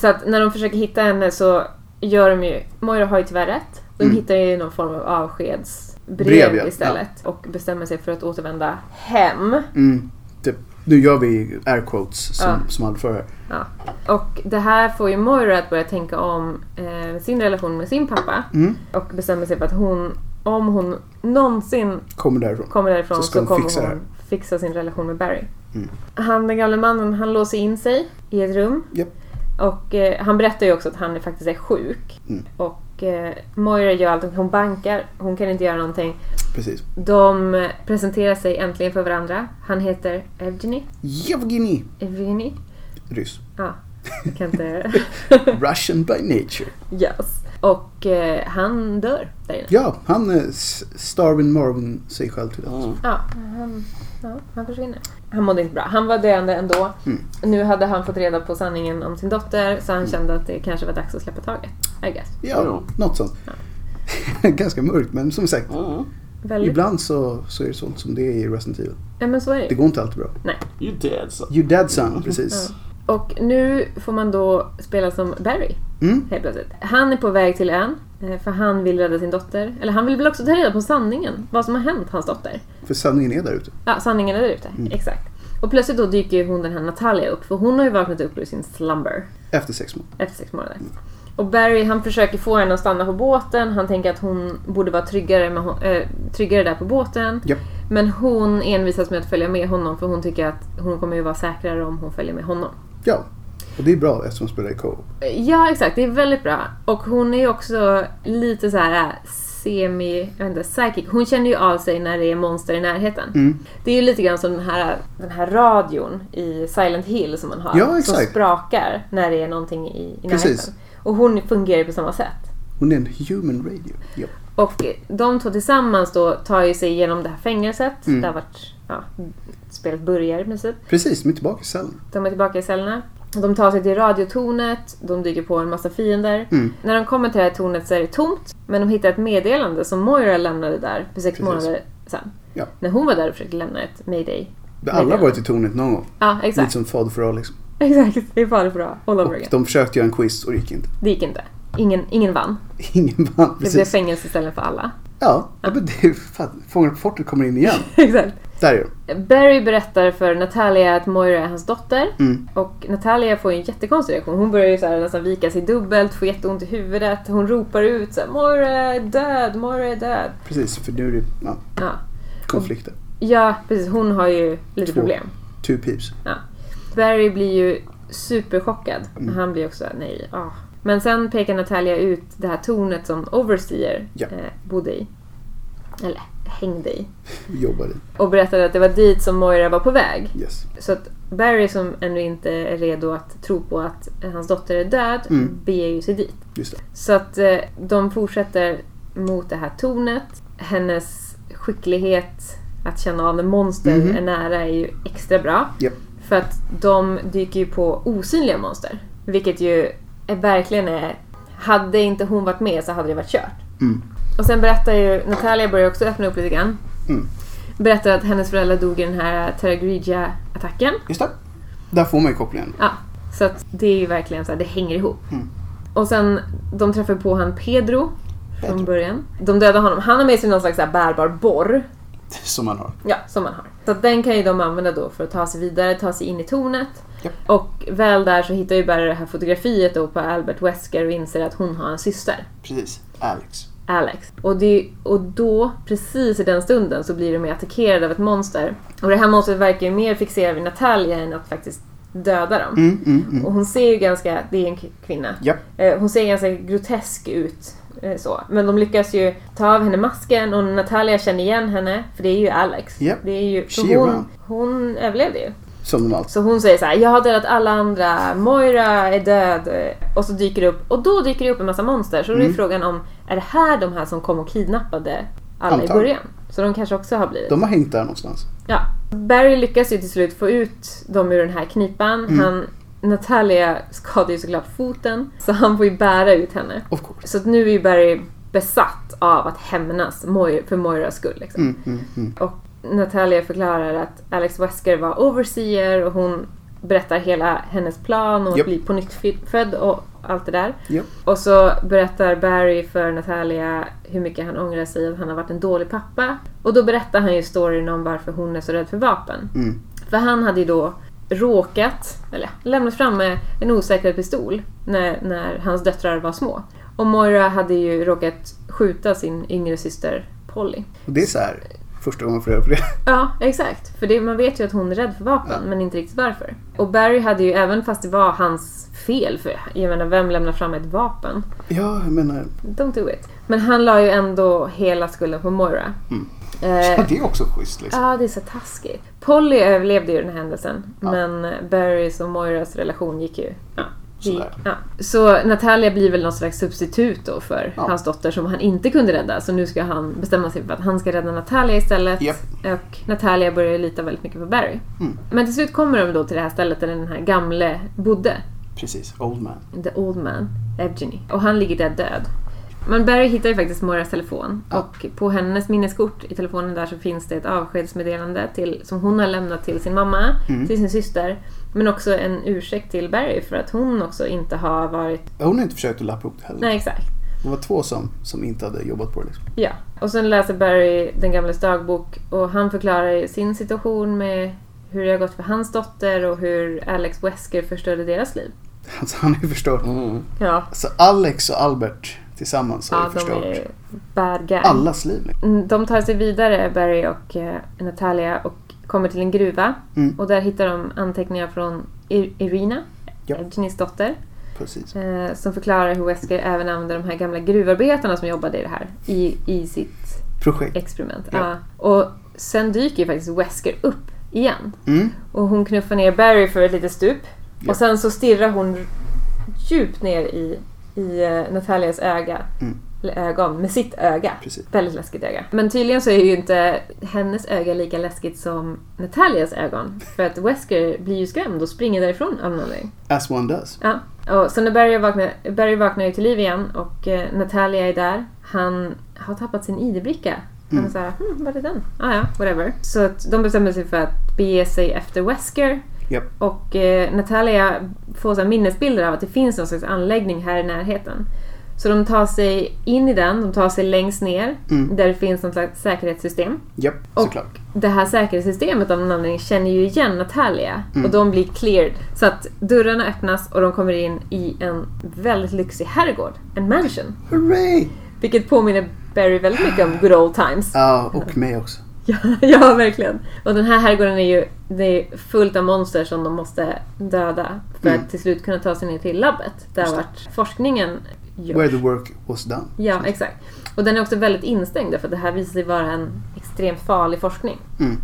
Så att när de försöker hitta henne så gör de ju... Moira har ju tyvärr rätt. De
Mm.
hittar ju någon form av avskedsbrev
Brev, ja.
istället. Och bestämmer sig för att återvända hem.
Mm. Typ, nu gör vi air quotes som,
Ja.
som han för här.
Och det här får ju Moira att börja tänka om eh, sin relation med sin pappa.
Mm.
Och bestämmer sig för att hon, om hon någonsin
Kommer därifrån.
kommer därifrån
Så
så,
ska hon
kommer
fixa det
hon
här.
fixa sin relation med Barry.
Mm.
Han, den gamle mannen, han låser in sig i ett rum.
Japp.
Och eh, han berättar ju också att han är- faktiskt är sjuk.
Mm.
Och eh, Moira gör allt, hon bankar, hon kan inte göra någonting.
Precis.
De eh, presenterar sig äntligen för varandra. Han heter Evgeny.
Yevgeny.
Evgeny?
Ryss.
Ja, jag kan inte...
Russian by nature.
yes. Och eh, han dör där inne.
Ja, han eh, s- Starvin Marvin sig själv till döds.
Mm.
Ja, han, ja, han försvinner. Han mådde inte bra. Han var döende ändå.
Mm.
Nu hade han fått reda på sanningen om sin dotter så han kände att det kanske var dags att släppa taget. I guess.
Ja,
Jo.
något sånt. Ganska mörkt, men som sagt.
Mm.
Väldigt.
Ibland så, så är det sånt som det är i Resident Evil.
Ja, men så är det
Det
ju.
går inte alltid bra.
You dead son.
You dead son, precis.
Och nu får man då spela som Barry
Mm.
helt plötsligt. Han är på väg till ön eh, för han vill rädda sin dotter. Eller han vill väl också ta reda på sanningen. Vad som har hänt hans dotter.
För sanningen är där ute.
Ja, sanningen är där ute.
Mm.
Exakt. Och plötsligt då dyker ju hon den här Natalia upp för hon har ju vaknat upp ur sin slumber.
Efter sex månader.
Efter sex månader. Och Barry han försöker få henne att stanna på båten. Han tänker att hon borde vara tryggare, med, hon- eh, tryggare där på båten.
Japp.
Men hon envisas med att följa med honom för hon tycker att hon kommer ju vara säkrare om hon följer med honom.
Ja. Och det är bra eftersom de spelar i co-op.
Eh, Ja, exakt. Det är väldigt bra. Och hon är ju också lite så här eh, semi, jag vet inte, psychic. Hon känner ju av sig när det är monster i närheten.
Mm.
Det är ju lite grann som den här, den här radion i Silent Hill som man har.
Ja, exakt.
Som sprakar när det är någonting i, i
Precis.
närheten. Och hon fungerar ju på samma sätt.
Hon är en human radio. Ja.
Och de två tillsammans då tar ju sig igenom det här fängelset.
Mm.
Där vart, ja, spelet börjar i princip.
Precis, de är tillbaka i cellen.
De är tillbaka i cellerna. De tar sig till radiotornet. De dyker på en massa fiender.
Mm.
När de kommer till det här tornet så är det tomt. Men de hittar ett meddelande som Moira lämnade där för sex
Precis.
månader sedan.
Ja.
När hon var där och försökte lämna ett mayday.
Alla har varit i tornet någon gång.
Ja,
Lite
exakt.
som fader för A liksom.
Exakt. Det är bara bra. All
Och
over again.
de försökte göra en quiz och det gick inte.
Det gick inte. Ingen, ingen vann.
Ingen vann.
Det blev
Precis.
fängelse istället för alla.
Ja, ja, men det är fan, Fångarna på fortet kommer in igen.
exakt.
Där är de.
Barry berättar för Natalia att Moira är hans dotter.
Mm.
Och Natalia får ju en jättekonstig reaktion. Hon börjar ju så här nästan vika sig dubbelt, får jätteont i huvudet. Hon ropar ut så här, Moira är död, Moira är död.
Precis, för nu är det ja,
Ja,
konflikter.
ja precis. Hon har ju lite
Två.
problem.
Two peeps.
Barry blir ju superchockad.
Mm.
Han blir också nej, ah. Men sen pekar Natalia ut det här tornet som Overseer
Ja.
eh, bodde i. Eller hängde i.
Vi jobbar i.
Och berättade att det var dit som Moira var på väg.
Yes.
Så att Barry som ännu inte är redo att tro på att hans dotter är död
Mm.
beger ju sig dit.
Just det.
Så att eh, de fortsätter mot det här tornet. Hennes skicklighet att känna av när monster
Mhm.
är nära är ju extra bra.
Japp.
För att de dyker ju på osynliga monster. Vilket ju är, verkligen är... Hade inte hon varit med så hade det varit kört.
Mm.
Och sen berättar ju... Natalia börjar också öppna upp lite grann.
Mm.
Berättar att hennes föräldrar dog i den här Terragrigia-attacken.
Just det. Där får man ju kopplingen.
Ja, så att det är ju verkligen så här, det hänger ihop.
Mm.
Och sen, de träffar på han Pedro från
Pedro.
början. De dödar honom. Han har med sig någon slags så här bärbar borr.
Som man har.
Ja, som han har. Så att den kan ju de använda då för att ta sig vidare, ta sig in i tornet.
Japp.
Och väl där så hittar ju Barry det här fotografiet då på Albert Wesker och inser att hon har en syster,
Precis. Alex.
Alex. Och, det, och då, precis i den stunden, så blir de ju attackerade av ett monster. Och det här monstret verkar ju mer fixerat vid Natalia än att faktiskt döda dem.
Mm, mm, mm.
Och hon ser ju ganska, det är en k- kvinna.
Japp.
Eh, Hon ser ganska grotesk ut. eh, Så. Men de lyckas ju ta av henne masken och Natalia känner igen henne. För det är ju Alex.
Japp.
Det är ju,
She
för hon,
around.
hon överlevde ju.
Som de alltid.
Så hon säger så här: jag har dödat alla andra, Moira är död. eh, Och så dyker det upp, och då dyker det upp en massa monster. Så då är
Mm.
frågan om, är det här de här som kom och kidnappade alla i
Antagligen.
början? Så de kanske också har blivit.
De har hängt där någonstans.
Ja. Barry lyckas ju till slut få ut dem ur den här knipan. Han Natalia skadade ju såklart foten, så han får ju bära ut henne.
Of course.
Så att nu är ju Barry besatt av att hämnas Moir- för Moiras skull. Liksom.
Mm, mm, mm.
Och Natalia förklarar att Alex Wesker var overseer och hon berättar hela hennes plan och
Japp.
blir på nytt fi- född och allt det där.
Japp.
Och så berättar Barry för Natalia hur mycket han ångrar sig att han har varit en dålig pappa. Och då berättar han ju storyn om varför hon är så rädd för vapen.
Mm.
För han hade ju då råkat, eller lämnat framme en osäkrad pistol när, när hans döttrar var små. Och Moira hade ju råkat skjuta sin yngre syster Polly.
Och det är så här, första gången jag får reda på det.
Ja, exakt. För det, man vet ju att hon är rädd för vapen, men inte riktigt varför. Och Barry hade ju, även fast det var hans fel, för jag menar, vem lämnar fram ett vapen?
Ja, jag menar,
Don't do it. Men han la ju ändå hela skulden på Moira.
Mm.
Eh,
det är också schysst liksom.
Ja, det är så taskigt. Polly överlevde ju den här händelsen, men Barrys och Moiras relation gick ju... Ja, det gick,
Sådär.
ja. Så Natalia blir väl någon slags substitut då för
Ja.
hans dotter som han inte kunde rädda. Så nu ska han bestämma sig för att han ska rädda Natalia istället.
Japp.
Och Natalia börjar ju lita väldigt mycket på Barry.
Mm.
Men till slut kommer de då till det här stället där den här gamle bodde.
Precis, old man.
The Old Man, Evgeny. Och han ligger där död. Men Barry hittar ju faktiskt Moiras telefon.
Ja.
Och på hennes minneskort i telefonen där så finns det ett avskedsmeddelande till, som hon har lämnat till sin mamma, till sin syster. Men också en ursäkt till Barry för att hon också inte har varit...
Hon har inte försökt att lappa ihop det heller.
Nej, exakt.
Det var två som, som inte hade jobbat på det liksom.
Ja. Och sen läser Barry den gamles dagbok och han förklarar ju sin situation med hur det har gått för hans dotter och hur Alex Wesker förstörde deras liv.
Alltså han har ju förstört.
Mm.
Ja,
Alltså Alex och Albert tillsammans har
ja
ju
de
förstört
är ju bad guys.
allas liv. liksom.
Mm, De tar sig vidare, Barry och eh, Natalia, och kommer till en gruva.
Mm.
Och där hittar de anteckningar från Ir- Irina,
Ja.
Evgenys dotter,
Precis.
eh, som förklarar hur Wesker även använde de här gamla gruvarbetarna som jobbade i det här, i, i sitt
Projekt.
experiment.
Ja.
Ja. Och sen dyker ju faktiskt Wesker upp igen.
Mm.
Och hon knuffar ner Barry för ett litet stup.
Ja.
Och sen så stirrar hon djupt ner i, i eh, Natalias öga.
Mm.
Eller ögon, med sitt öga.
Precis.
Väldigt läskigt öga. Men tydligen så är ju inte hennes öga lika läskigt som Natalias ögon. För att Wesker blir ju skrämd och springer därifrån av någon anledning.
As one does.
Ja. Och så när Barry vaknar, Barry vaknar ju till liv igen och eh, Natalia är där. Han har tappat sin ID-bricka. Han
Mm.
är såhär, hm, var är den? Ah, ja, whatever. Så att de bestämmer sig för att bege sig efter Wesker.
Japp.
Och eh, Natalia får så här minnesbilder av att det finns någon slags anläggning här i närheten. Så de tar sig in i den, de tar sig längst ner
Mm.
där det finns något slags säkerhetssystem.
Japp,
Och-
såklart.
Det här säkerhetssystemet av någon anledning känner ju igen Natalia
Mm.
och de blir cleared. Så att dörrarna öppnas och de kommer in i en väldigt lyxig herrgård, en mansion.
Hooray!
Vilket påminner Barry väldigt mycket om good old times.
Ja, och mig också.
Ja, ja, verkligen. Och den här herrgården är ju det är fullt av monster som de måste döda för
Mm.
att till slut kunna ta sig ner till labbet där vart forskningen görs.
Where the work was done.
Ja, exakt. Och den är också väldigt instängd därför att det här visar sig vara en extremt farlig forskning.
Mm.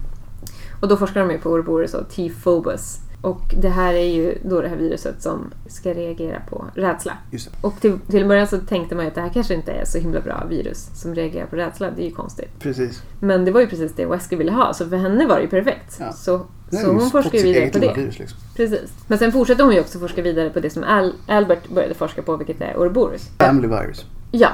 Och då forskar de ju på Ouroboros och T-Phobos. Och det här är ju då det här viruset som ska reagera på rädsla.
Just det.
Och till, till en början så tänkte man ju att det här kanske inte är så himla bra virus som reagerar på rädsla, det är ju konstigt.
Precis.
Men det var ju precis det Wesker ville ha, så för henne var det ju perfekt.
Ja.
Så,
Det är
så
ju
hon
fått
forskar ju
sitt
vidare
eget
på
lilla
det.
Virus, liksom.
Precis. Men sen fortsätter hon ju också forska vidare på det som Al- Albert började forska på, vilket är Ouroboros.
Family virus.
Ja,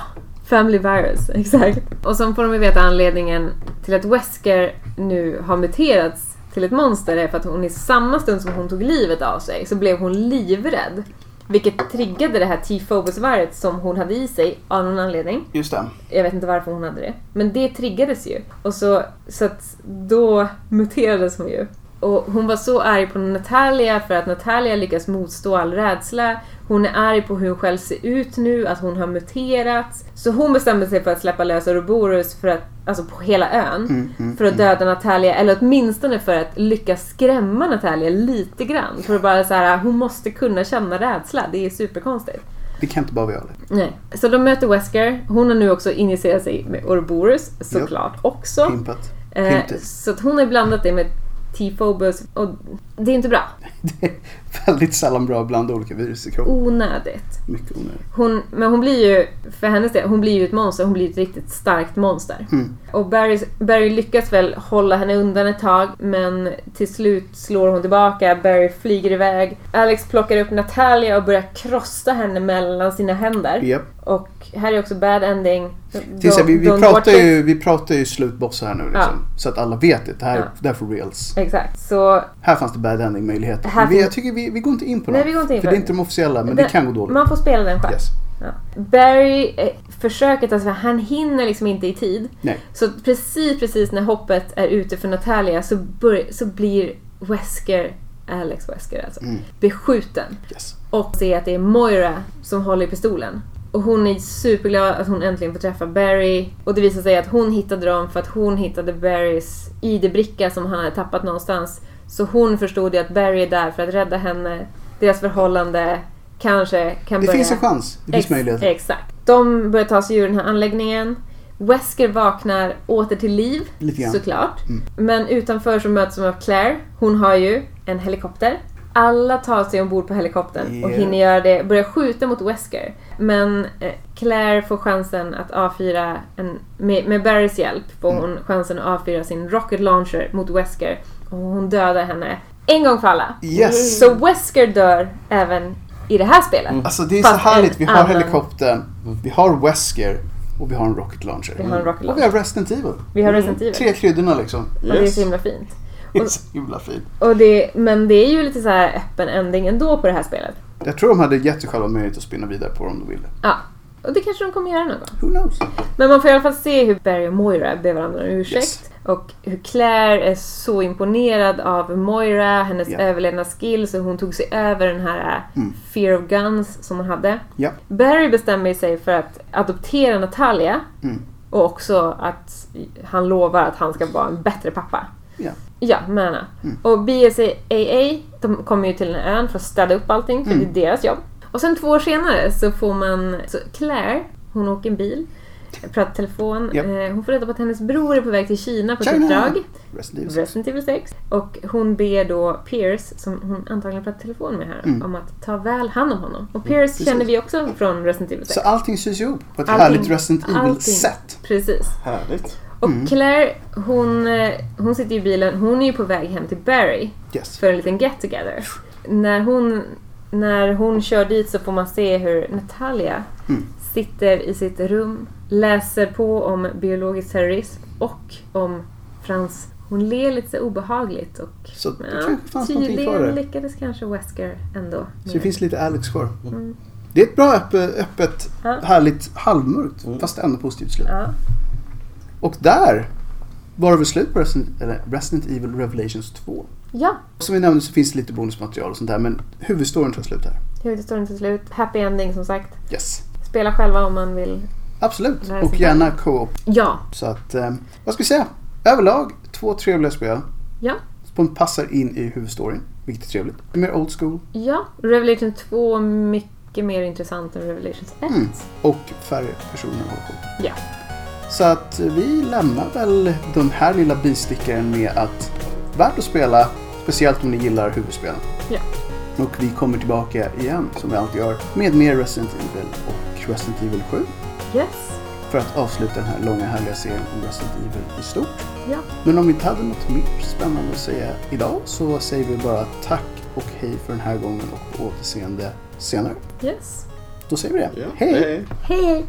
Family Virus, exakt. Och sen får de ju veta anledningen till att Wesker nu har muterats till ett monster är för att hon i samma stund som hon tog livet av sig så blev hon livrädd. Vilket triggade det här T-Phobos-virus som hon hade i sig av någon anledning.
Just det.
Jag vet inte varför hon hade det. Men det triggades ju. Och så, så att då muterades hon ju. Och hon var så arg på Natalia för att Natalia lyckas motstå all rädsla. Hon är arg på hur hon själv ser ut nu, att hon har muterats. Så hon bestämde sig för att släppa lös Ouroboros för att, alltså på hela ön.
Mm,
för att döda Natalia, eller åtminstone för att lyckas skrämma Natalia lite grann. För att bara så här, hon måste kunna känna rädsla. Det är superkonstigt.
Det kan inte bara vara jag. liksom.
Nej. Så de möter Wesker. Hon har nu också injicerat sig med Ouroboros såklart också.
Pimpat.
Eh,
Pimped.
så att hon har blandat det med T-phobus. Och det är inte bra.
Det är väldigt sällan bra att blanda olika virus i kroppen.
Onödigt.
Mycket onödigt.
Hon, men hon blir ju, för hennes del, hon blir ju ett monster. Hon blir ett riktigt starkt monster.
Mm.
Och Barry, Barry lyckas väl hålla henne undan ett tag, men till slut slår hon tillbaka. Barry flyger iväg. Alex plockar upp Natalia och börjar krossa henne mellan sina händer.
Japp.
Och här är också bad ending.
Tills jag- vi, vi,
Don't watch
pratar
it.
ju, vi pratar ju slutboss här nu liksom. Så att alla vet det. Det här,
Ja.
det här är for reals.
Exakt. Så
Här fanns det bad ending möjligheter.
Här
Men vi,
finns-
jag tycker vi, vi går inte in på
Nej,
dem.
vi går inte in
för
på
det är
det.
inte de officiella men det,
Den-
kan gå dåligt.
man får spela den själv.
Yes.
Ja. Barry eh, försöker, alltså, han hinner liksom inte i tid.
Nej.
Så precis, precis när hoppet är ute för Natalia så, bör, så blir Wesker, Alex Wesker alltså,
Mm.
beskjuten.
Yes.
Och ser att det är Moira som håller i pistolen. Och hon är superglad att hon äntligen får träffa Barry. Och det visar sig att hon hittade dem för att hon hittade Barrys ID-bricka som han hade tappat någonstans. Så hon förstod ju att Barry är där för att rädda henne. Deras förhållande kanske kan
Det
börja...
finns en chans. Det finns
Ex-
möjligheter.
Exakt. De börjar ta sig ur den här anläggningen. Wesker vaknar åter till liv,
Lite grann. Mm.
såklart. Men utanför så möts de av Claire. Hon har ju en helikopter. Alla tar sig ombord på helikoptern och
Yeah.
hinner göra det, börjar skjuta mot Wesker. Men eh, Claire får chansen att avfyra, en, med, med Barrys hjälp,
Mm.
får hon chansen att avfyra sin rocket launcher mot Wesker. Och hon dödar henne en gång för alla.
Yes.
Så Wesker dör även i det här spelet.
Alltså det är
Fast
så härligt. Vi
en
har
annan-
helikoptern, vi har Wesker och vi har en rocket launcher.
Vi har en rocket
Och vi har Resident Evil.
Vi har Resident Evil.
Mm. Tre kryddorna liksom.
Och det är
Yes.
så himla fint.
Det är så himla fint.
Och det, men det är ju lite så här öppen ending ändå på det här spelet.
Jag tror de hade gett sig själva möjlighet att spinna vidare på det om de ville.
Ja. Och det kanske de kommer göra någon gång.
Who knows?
Men man får i alla fall se hur Barry och Moira ber varandra om ursäkt.
Yes.
Och hur Claire är så imponerad av Moira, hennes
Ja. Mm.
överlevnadsskills och hon tog sig över den här äh, fear of guns som hon hade.
Ja.
Barry bestämmer sig för att adoptera Natalia
Mm.
och också att han lovar att han ska vara en bättre pappa.
Ja.
Ja, Märna.
Mm.
Och BSAA, de kommer ju till den här ön för att städa upp allting, för
Mm.
det är deras jobb. Och sen två år senare så får man, så Claire, hon åker en bil, pratar telefon.
Japp.
Eh, Hon får reda på att hennes bror är på väg till Kina på ett
China!
uppdrag.
Resident Evil.
Resident Evil 6. Och hon ber då Pierce, som hon antagligen pratar telefon med här,
Mm.
om att ta väl hand om honom. Och Pierce känner vi också från Resident Evil 6.
Så allting syns ihop på ett
Allting-
härligt Resident
allting.
Evil-sätt.
Precis.
Härligt.
Och
Mm.
Claire, hon, eh, hon sitter i bilen, hon är ju på väg hem till Barry
Yes.
för en liten get together. När hon, när hon kör dit så får man se hur Natalia
Mm.
sitter i sitt rum, läser på om biologisk terrorism och om Frans. Hon ler lite så obehagligt och
Så det kanske fanns någonting
tydligen
för det.
lyckades kanske Wesker ändå.
Så det
med-
finns lite Alex kvar. Det är ett bra öppet, öppet
Mm. Ja.
härligt halvmörkt fast ändå positivt slut.
Ja.
Och där var det väl slut på Resident, eller Resident Evil Revelations 2.
ja,
Som vi nämnde så finns det lite bonusmaterial och sånt där men huvudstoryn tar slut här.
huvudstoryn till slut. Happy ending som sagt.
Yes.
Spela själva om man vill.
Absolut.
Lära sig
Och gärna co-op.
Ja,
Så att, eh, vad ska vi säga? Överlag två trevliga spel
ja.
som passar in i huvudstoryn, vilket är trevligt. Mer old school
Ja, Revelation 2 mycket mer intressant än Revelation 1.
Mm. och färre personer håller på.
Ja.
Så att vi lämnar väl den här lilla bistickaren med att värt att spela, speciellt om ni gillar huvudspelen.
Ja.
Och vi kommer tillbaka igen, som vi alltid gör, med mer Resident Evil och Resident Evil 7
Yes.
för att avsluta den här långa härliga serien om Resident Evil i stort.
Ja.
Men om vi inte hade något mer spännande att säga idag så säger vi bara tack och hej för den här gången och på återseende senare.
Yes.
Då säger vi det.
Ja.
hej.
Hej!